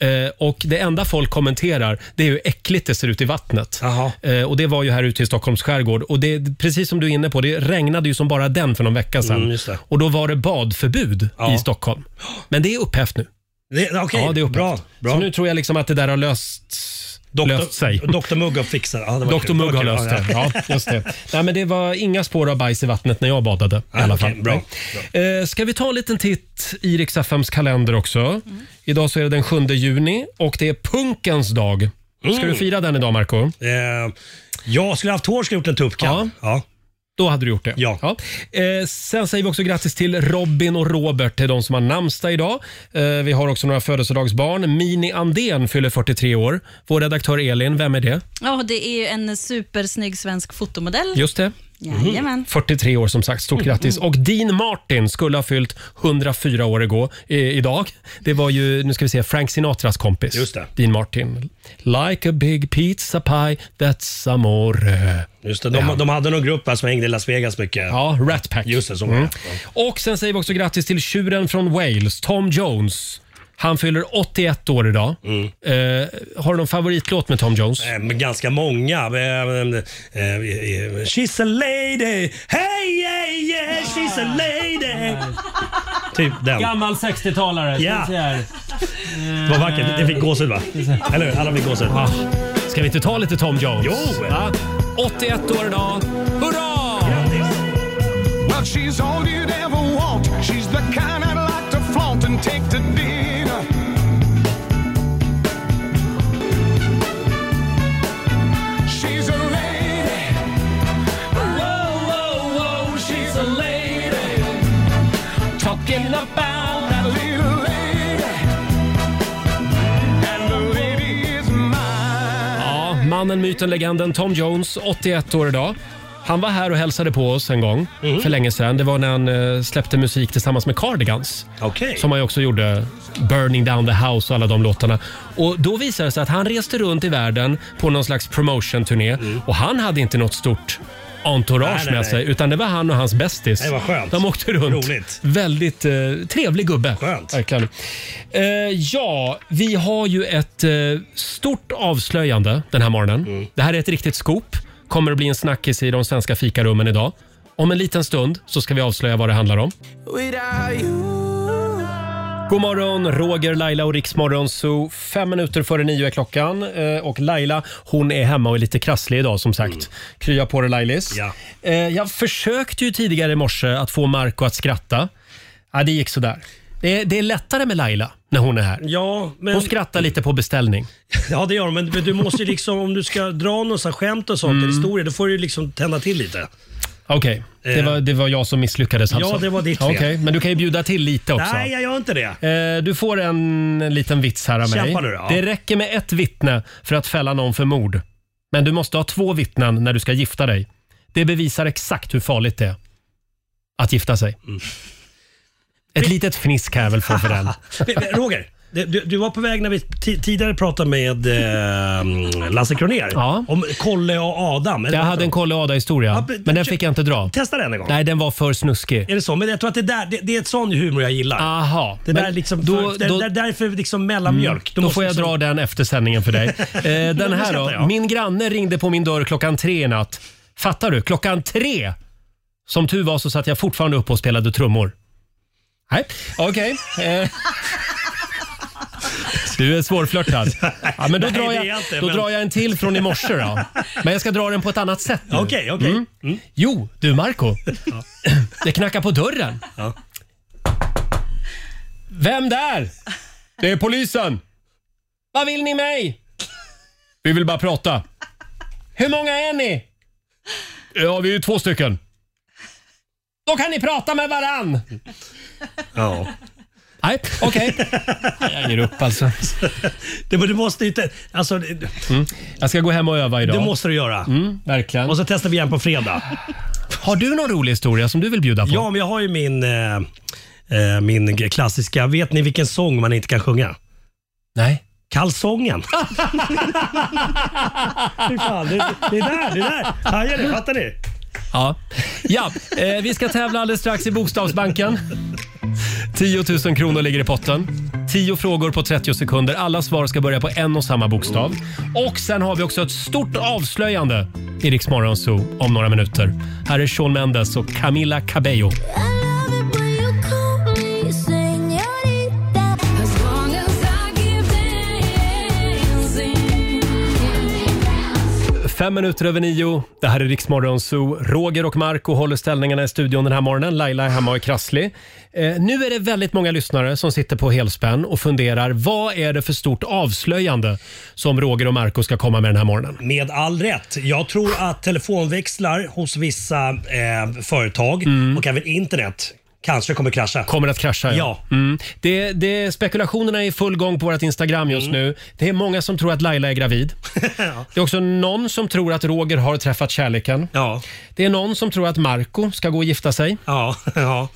Eh, och Det enda folk kommenterar det är hur äckligt det ser ut i vattnet. Eh, och Det var ju här ute i Stockholms skärgård. Och det, precis som du är inne på, det regnade ju som bara den för någon vecka sedan.
Mm, just det.
Och Då var det badförbud i Stockholm. Men det är upphävt nu.
Det- Okej,
ja, det är upphävt.
bra. bra.
Så nu tror jag liksom att det där har löst, löst sig.
Dr Mugg har fixat ja, det var
Dr
kul.
Mugg
Det
har
var kul.
löst det. Ja, just det. Nej, men det var inga spår av bajs i vattnet när jag badade. I alla fall.
Ah, okej, bra.
Nej. Eh, Ska vi ta en liten titt i Rix FMs kalender också? Idag så är det den 7 juni och det är punkens dag. Ska
Mm.
du fira den idag, Marco?
Eh, jag skulle haft hår skulle jag gjort en tuppkam. Ja.
Då hade du gjort det.
Ja.
Eh, sen säger vi också grattis till Robin och Robert, till de som har namnsdag idag. Eh, vi har också några födelsedagsbarn. Mini Andén fyller 43 år. Vår redaktör Elin, vem är det?
Ja, det är ju en supersnygg svensk fotomodell.
Just det.
Jajamän.
43 år som sagt.
Mm.
Stort grattis. Och Dean Martin skulle ha fyllt 104 år igår, eh, idag. Det var ju, nu ska vi se, Frank Sinatras kompis.
Just det.
Dean Martin. Like a big pizza pie, that's amore.
Just det, de,
Ja.
de hade någon grupp här som hängde i Las Vegas mycket.
Ja, Rat Pack.
Just det, så var
Mm.
det.
Och sen säger vi också grattis till tjuren från Wales, Tom Jones. Han fyller 81 år idag.
Mm.
Eh, har du någon favoritlåt med Tom Jones?
Eh, men ganska många. Eh, eh, eh, She's a lady, hey yeah yeah, she's a lady. Typ den.
Gammal 60-talare.
Ja. Det var vackert. Det fick gåshud va? Eller hur? Alla fick gåshud.
Ska vi inte ta lite Tom Jones?
Jo!
Va? 81 år idag. Hurra!
Well, she's all you'd ever want. She's the kind I'd like to flaunt and take to dinner.
Mannen, myten, legenden Tom Jones, 81 år idag. Han var här och hälsade på oss en gång
Mhm.
Mm.
för länge sedan. Det var när han eh, släppte musik tillsammans med Cardigans. Som han ju också gjorde Burning Down the House och alla de låtarna. Och då visade det sig att han reste runt i världen på någon slags promotion-turné och han hade inte något stort entourage
Mm. Nej, nej,
med
nej.
sig utan det var han och hans bästis.
Nej, vad skönt.
De åkte runt.
Roligt.
Väldigt eh, trevlig gubbe.
Skönt.
Verkligen. Eh, ja, vi har ju ett eh, stort avslöjande den här morgonen. Det här är ett riktigt scoop. Kommer att bli en snackis i de svenska fikarummen idag. Om en liten stund så ska vi avslöja vad det handlar om. God morgon, Roger, Laila och Riksmorgon Zoo. Fem minuter före nio är klockan. Eh, Och Laila, hon är hemma och är lite krasslig idag som
Mm.
sagt. Krya på dig Lailis. Eh, Jag försökte ju tidigare i morse att få Marco att skratta. Ja, det gick sådär. Det är, det är lättare med Laila när hon är här.
Ja, men...
Hon skrattar lite på beställning.
Ja, det gör de. Men men du måste ju liksom, om du ska dra någon sån här skämt och sånt,
Mm.
eller historier, då får du ju liksom tända till lite.
Okej, det,
Eh.
var, det var jag som misslyckades alltså.
Ja, det var ditt fel.
Okej, men du kan ju bjuda till lite också.
Nej, jag gör inte det.
Eh, Du får en liten vits här av mig.
Kämpa nu då.
Det räcker med ett vittne för att fälla någon för mord. Men du måste ha två vittnen när du ska gifta dig. Det bevisar exakt hur farligt det är att gifta sig.
Mm.
Ett litet fnisk kan jag väl få för den.
Men, men, Roger, det- du, du var på väg när vi ti- tidigare pratade med eh, Lasse Kronér om Kolle och Adam.
Jag hade en Kolle och Ada-historia, men den fick jag inte dra.
Testa den en gång.
Nej, den var för snuskig.
Är det så? Men jag tror att det, där, det, det är ett sån humor jag gillar.
Aha.
Det där
Men
är liksom
då-
för, det,
då-
det, därför liksom
Mm.
mellanmjölk.
Då, får jag
liksom,
dra den efter sändningen för dig. Eh, den
det
här
skrattar
då.
jag.
Min granne ringde på min dörr klockan tre i natt. Fattar du? Klockan tre! Som tur var så satt jag fortfarande uppe och spelade trummor. Nej, okej. Eh. Du är svårflörtad. Ja, men då,
Nej,
drar
det
jag,
är jag inte,
då
men-
drar jag en till från i morse då. Men jag ska dra den på ett annat sätt nu.
Okej, okej.
Mm. Jo, du Marco. Det knackar på dörren. Vem där? Det är polisen. Vad vill ni mig? Vi vill bara prata. Hur många är ni? Ja, vi är två stycken. Då kan ni prata med varann.
Ja.
Nej, okej. Jag ger upp alltså.
Det, du måste ju inte... Alltså, det-
Mm. Jag ska gå hem och öva idag.
Det måste du göra.
Mm, verkligen.
Och så testar vi igen på fredag.
Har du någon rolig historia som du vill bjuda på?
Ja, men jag har ju min, eh, eh, min g- klassiska. Vet ni vilken sång man inte kan sjunga?
Nej.
Kalsongen. Fy fan, det, det är där, det är där. Hajar ni? Fattar ni?
Ja, ja eh, vi ska tävla alldeles strax i Bokstavsbanken. 10 000 kronor ligger i potten. 10 frågor på 30 sekunder. Alla svar ska börja på en och samma bokstav. Och sen har vi också ett stort avslöjande i Rix Morgon Zoo om några minuter. Här är Shawn Mendes och Camila Cabello. Fem minuter över nio. Det här är Riksmorgon Zoo. Roger och Marco håller ställningarna i studion den här morgonen. Laila är hemma och är krasslig. Eh, nu är det väldigt många lyssnare som sitter på helspänn och funderar vad är det för stort avslöjande som Roger och Marco ska komma med den här morgonen.
Med all rätt. Jag tror att telefonväxlar hos vissa eh, företag och även internet kanske kommer krascha.
Mm. Kommer att krascha
ja.
Mm. Det, det, spekulationerna är i full gång på vårt Instagram just
Mm.
nu. Det är många som tror att Laila är gravid. Det är också någon som tror att Roger har träffat kärleken. Det är någon som tror att Marco ska gå och gifta sig.
Ja, ja.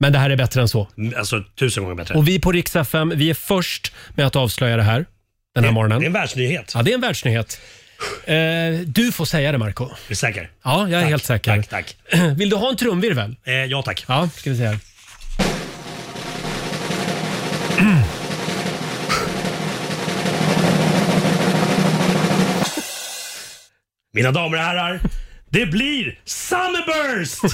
Men det här är bättre än så.
Alltså tusen gånger bättre.
Och vi på Rix FM, vi är först med att avslöja det här den här morgonen. Det är
en världsnyhet.
Ja, det är en världsnyhet. Eh, du får säga det, Marco. Är
du säker?
Ja, jag är helt säker.
Tack, tack.
Vill du ha en trumvirvel?
Eh, ja tack.
Ja, ska vi se här.
Mina damer och herrar, det blir Summerburst!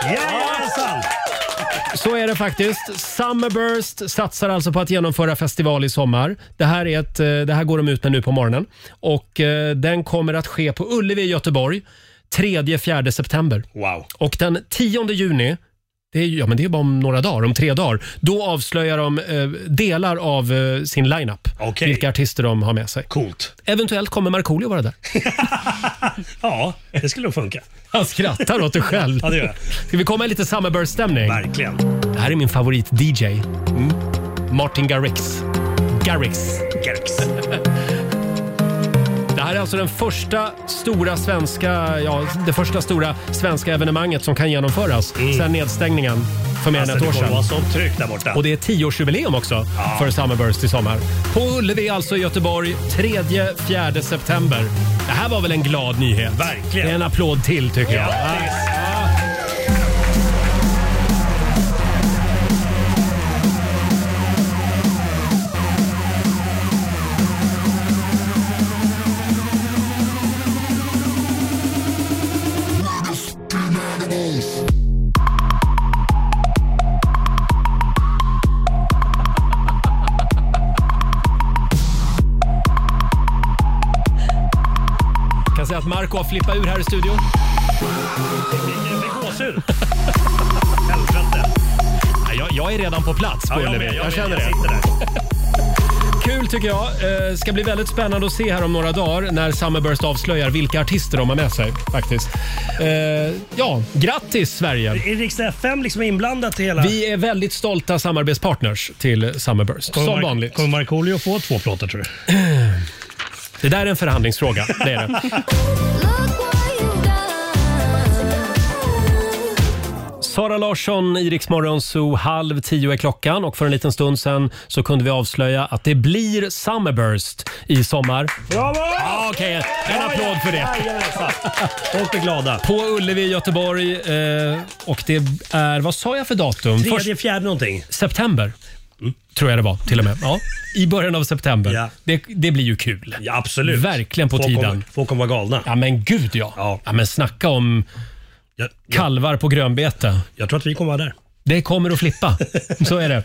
Yes! Jajamensan!
Så är det faktiskt. Summerburst satsar alltså på att genomföra festival i sommar. Det här, är ett, eh, det här går de ut med nu på morgonen. Och eh, Den kommer att ske på Ullevi i Göteborg 3-4 september.
Wow.
Och den 10 juni det är, ju- ja, men det är bara om några dagar, om tre dagar. Då avslöjar de eh, delar av eh, sin lineup. Vilka artister de har med sig.
Coolt.
Eventuellt kommer Markoolio vara där.
Ja, det skulle nog funka.
Han skrattar åt det själv.
Ja, det gör jag.
Ska vi komma i lite Summerburst-stämning?
Verkligen.
Det här är min favorit-DJ. Martin Garrix. Garrix.
Garrix.
här är alltså den första stora svenska, ja, det första stora svenska evenemanget som kan genomföras sedan nedstängningen för mer än
Mm. Alltså,
ett år
det kommer vara
sedan.
så tryggt där borta.
Och det är tioårsjubileum också för Summerburst i sommar. På Ullevi alltså i Göteborg, 3-4 september. Det här var väl en glad nyhet? Verkligen. En applåd till tycker jag. Kan säga att Marco har flippat ur här i studion.
Gåshud.
Ja, Jag, jag är redan på plats på
Ja, jag
Ullevi.
med,
Jag,
jag med,
känner
jag
det. Kul tycker jag. Eh, ska bli väldigt spännande att se här om några dagar när Summerburst avslöjar vilka artister de har med sig faktiskt. Eh, ja, grattis Sverige!
Är Riksdag FM liksom inblandat i hela...
Vi är väldigt stolta samarbetspartners till Summerburst,
Kommer
som
Mar-
vanligt.
Kommer Markoolio få två plåtar tror du?
Det där är en förhandlingsfråga. Det är det. Sara Larsson i Rix Morgon Zoo, halv tio är klockan och för en liten stund sen så kunde vi avslöja att det blir Summerburst i sommar.
Bravo!
Ja, Okej, en applåd för det.
Folk är glada.
På Ullevi i Göteborg eh, och det är, vad sa jag för datum?
Tredje,
Först-
fjärde någonting. Mm.
September. Tror jag det var till och med. Ja, I början av september. Det, det blir ju kul.
absolut.
Verkligen på
Folk
tiden.
kommer- Folk kommer vara galna.
Ja men gud ja. ja. men snacka om kalvar på grönbete.
Jag tror att vi kommer vara där.
Det kommer att flippa. Så är det.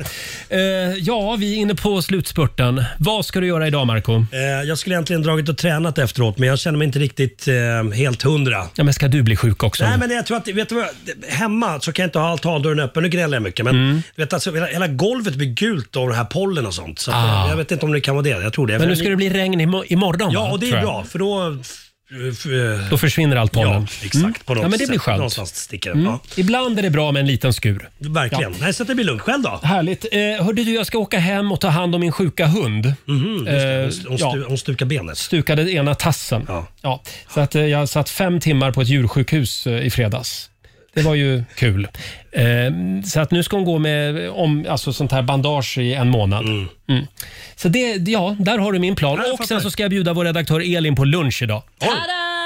Eh, ja, vi är inne på slutspurten. Vad ska du göra idag Marco?
Eh, jag skulle egentligen dragit och tränat efteråt, men jag känner mig inte riktigt eh, helt hundra.
Ja, men ska du bli sjuk också?
Nej, men jag tror att, vet du vad, hemma så kan jag inte ha altandörren öppen. Nu gnäller jag mycket,
Mm.
men du vet, alltså, hela, hela golvet blir gult av den här pollen och sånt. Så att,
Ah.
eh, Jag vet inte om det kan vara det. Jag tror det.
Men nu ska det bli regn imo- imorgon
Ja,
va?
och det
Tror
är
jag.
bra, för då... f- f-
Då försvinner allt pollen.
Ja, exakt.
Mm.
På något
ja, men det blir
sätt.
skönt.
Någonstans sticker det.
Mm.
Ja.
Ibland är det bra med en liten skur.
Verkligen.
Ja.
Nej, så att det blir lugnt. Själv då?
Härligt. Eh, hörde du, jag ska åka hem och ta hand om min sjuka hund.
Mhm, just det.
Eh,
Hon stu- hon stu- hon stukar benet.
Stukade ena tassen. Ja. Så att, eh, jag satt fem timmar på ett djursjukhus eh, i fredags. Det var ju kul. Eh, så att nu ska hon gå med om, alltså sånt här bandage i en månad. Mm. Så det, ja, där har du min plan. och sen så ska jag bjuda vår redaktör Elin på lunch idag.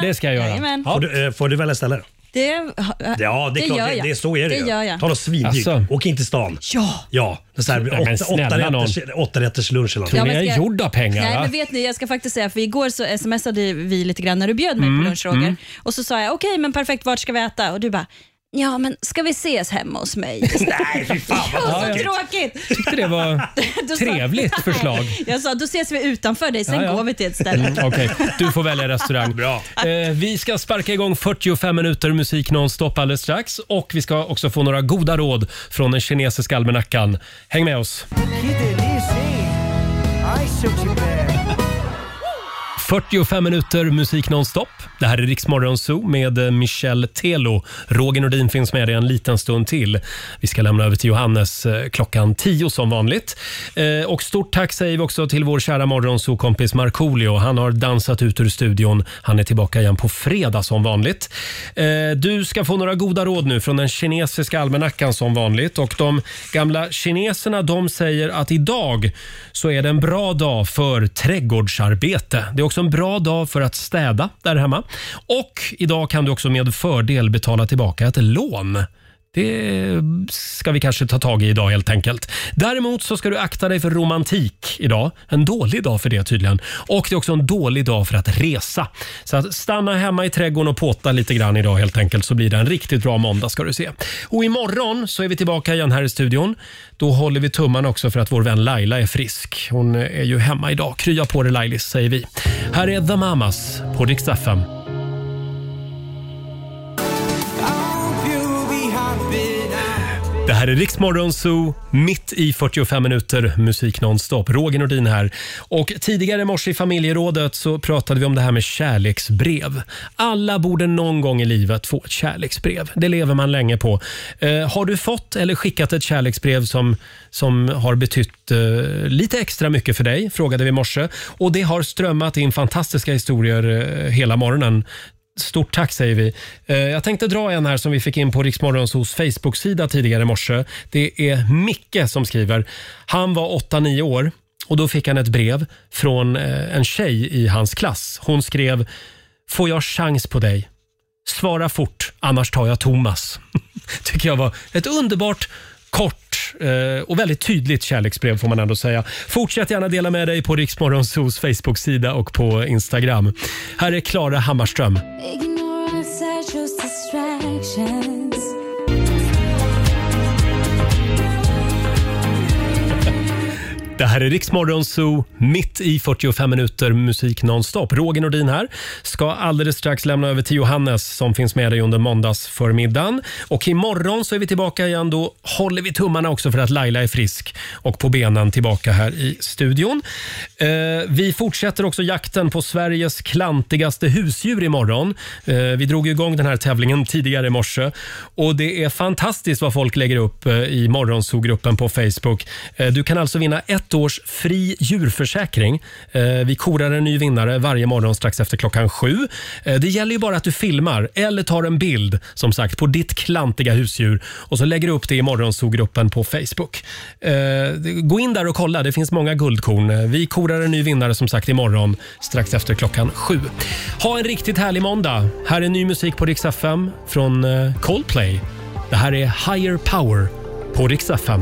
Det ska jag göra.
Jajamän.
Ja.
Får, du, eh, får du välja ställe?
Det, eh,
Ja, det är klart.
gör
Det,
jag.
det, så är det,
det
ju.
gör jag.
Ta något svindyrt.
Alltså.
Åk in till stan.
Ja.
Ja, det är så här,
Nej, men
åtta, åtta,
snälla nån.
rätters, åtta rätters lunch eller
Ja, men ska jag- Nej,
va?
men vet ni, jag ska faktiskt säga, för igår så smsade vi lite grann när du bjöd mig
Mm,
på lunch, Roger.
mm.
Och så sa jag, okej, men perfekt, vart ska vi äta? Och du bara, ja, men ska vi ses hemma hos mig?
Nej, fy fan
vad
Ja,
så
jag
tråkigt!
tyckte det var
Alltså, Då sa-
trevligt förslag.
Jag sa, då ses vi utanför dig, sen
Ja, ja.
går vi till ett ställe.
Mm, Okej, du får välja restaurang. Bra. Eh, vi ska sparka igång 45 minuter musik nonstop alldeles strax. Och vi ska också få några goda råd från den kinesiska almanackan. Häng med oss. 45 minuter musik nonstop. Det här är Riksmorgon Zoo med eh, Michel Telo. Roger Nordin finns med dig en liten stund till. Vi ska lämna över till Johannes eh, klockan 10 som vanligt. Eh, Och stort tack säger vi också till vår kära morgonzoo-kompis Markoolio. Han har dansat ut ur studion. Han är tillbaka igen på fredag som vanligt. Eh, Du ska få några goda råd nu från den kinesiska almanackan som vanligt. Och de gamla kineserna de säger att idag så är det en bra dag för trädgårdsarbete. Det är också en bra dag för att städa där hemma. Och idag kan du också med fördel betala tillbaka ett lån. Det ska vi kanske ta tag i idag helt enkelt. Däremot så ska du akta dig för romantik idag. En dålig dag för det tydligen. Och det är också en dålig dag för att resa. Så att stanna hemma i trädgården och påta lite grann idag helt enkelt så blir det en riktigt bra måndag ska du se. Och imorgon så är vi tillbaka igen här i studion. Då håller vi tummarna också för att vår vän Laila är frisk. Hon är ju hemma idag. Krya på dig Lailis säger vi. Här är The Mamas på Dix FM. Det här är Riksmorgon Zoo, mitt i 45 minuter musik nonstop. Roger Nordin här. Och tidigare i morse i familjerådet så pratade vi om det här med kärleksbrev. Alla borde någon gång i livet få ett kärleksbrev. Det lever man länge på. Eh, har du fått eller skickat ett kärleksbrev som, som har betytt eh, lite extra mycket för dig? Frågade vi i morse. Och det har strömmat in fantastiska historier eh, hela morgonen. Stort tack säger vi. Eh, Jag tänkte dra en här som vi fick in på Riksmorgonsos Facebook-sida tidigare i morse. Det är Micke som skriver. Han var 8-9 år och då fick han ett brev från eh, en tjej i hans klass. Hon skrev “Får jag chans på dig? Svara fort, annars tar jag Thomas”. Tycker jag var ett underbart kort eh, och väldigt tydligt kärleksbrev får man ändå säga. Fortsätt gärna dela med dig på Riksmorgonsos Facebook-sida och på Instagram. Här är Klara Hammarström.
Ignore all sexual distractions.
Det här är Riksmorgon Zoo, mitt i 45 minuter musik nonstop. Roger Nordin här. Ska alldeles strax lämna över till Johannes som finns med dig under måndagsförmiddagen. Och imorgon så är vi tillbaka igen. Då håller vi tummarna också för att Laila är frisk och på benen tillbaka här i studion. Eh, vi fortsätter också jakten på Sveriges klantigaste husdjur imorgon. Eh, vi drog igång den här tävlingen tidigare i morse och det är fantastiskt vad folk lägger upp eh, i Morgonzoo-gruppen på Facebook. Eh, Du kan alltså vinna ett års fri djurförsäkring. Eh, Vi korar en ny vinnare varje morgon strax efter klockan sju. Eh, Det gäller ju bara att du filmar eller tar en bild som sagt på ditt klantiga husdjur och så lägger du upp det i Morgonzoo-gruppen på Facebook. Eh, Gå in där och kolla, det finns många guldkorn. Eh, Vi korar en ny vinnare som sagt imorgon strax efter klockan sju. Ha en riktigt härlig måndag. Här är ny musik på Rix FM från eh, Coldplay. Det här är Higher Power på Rix FM.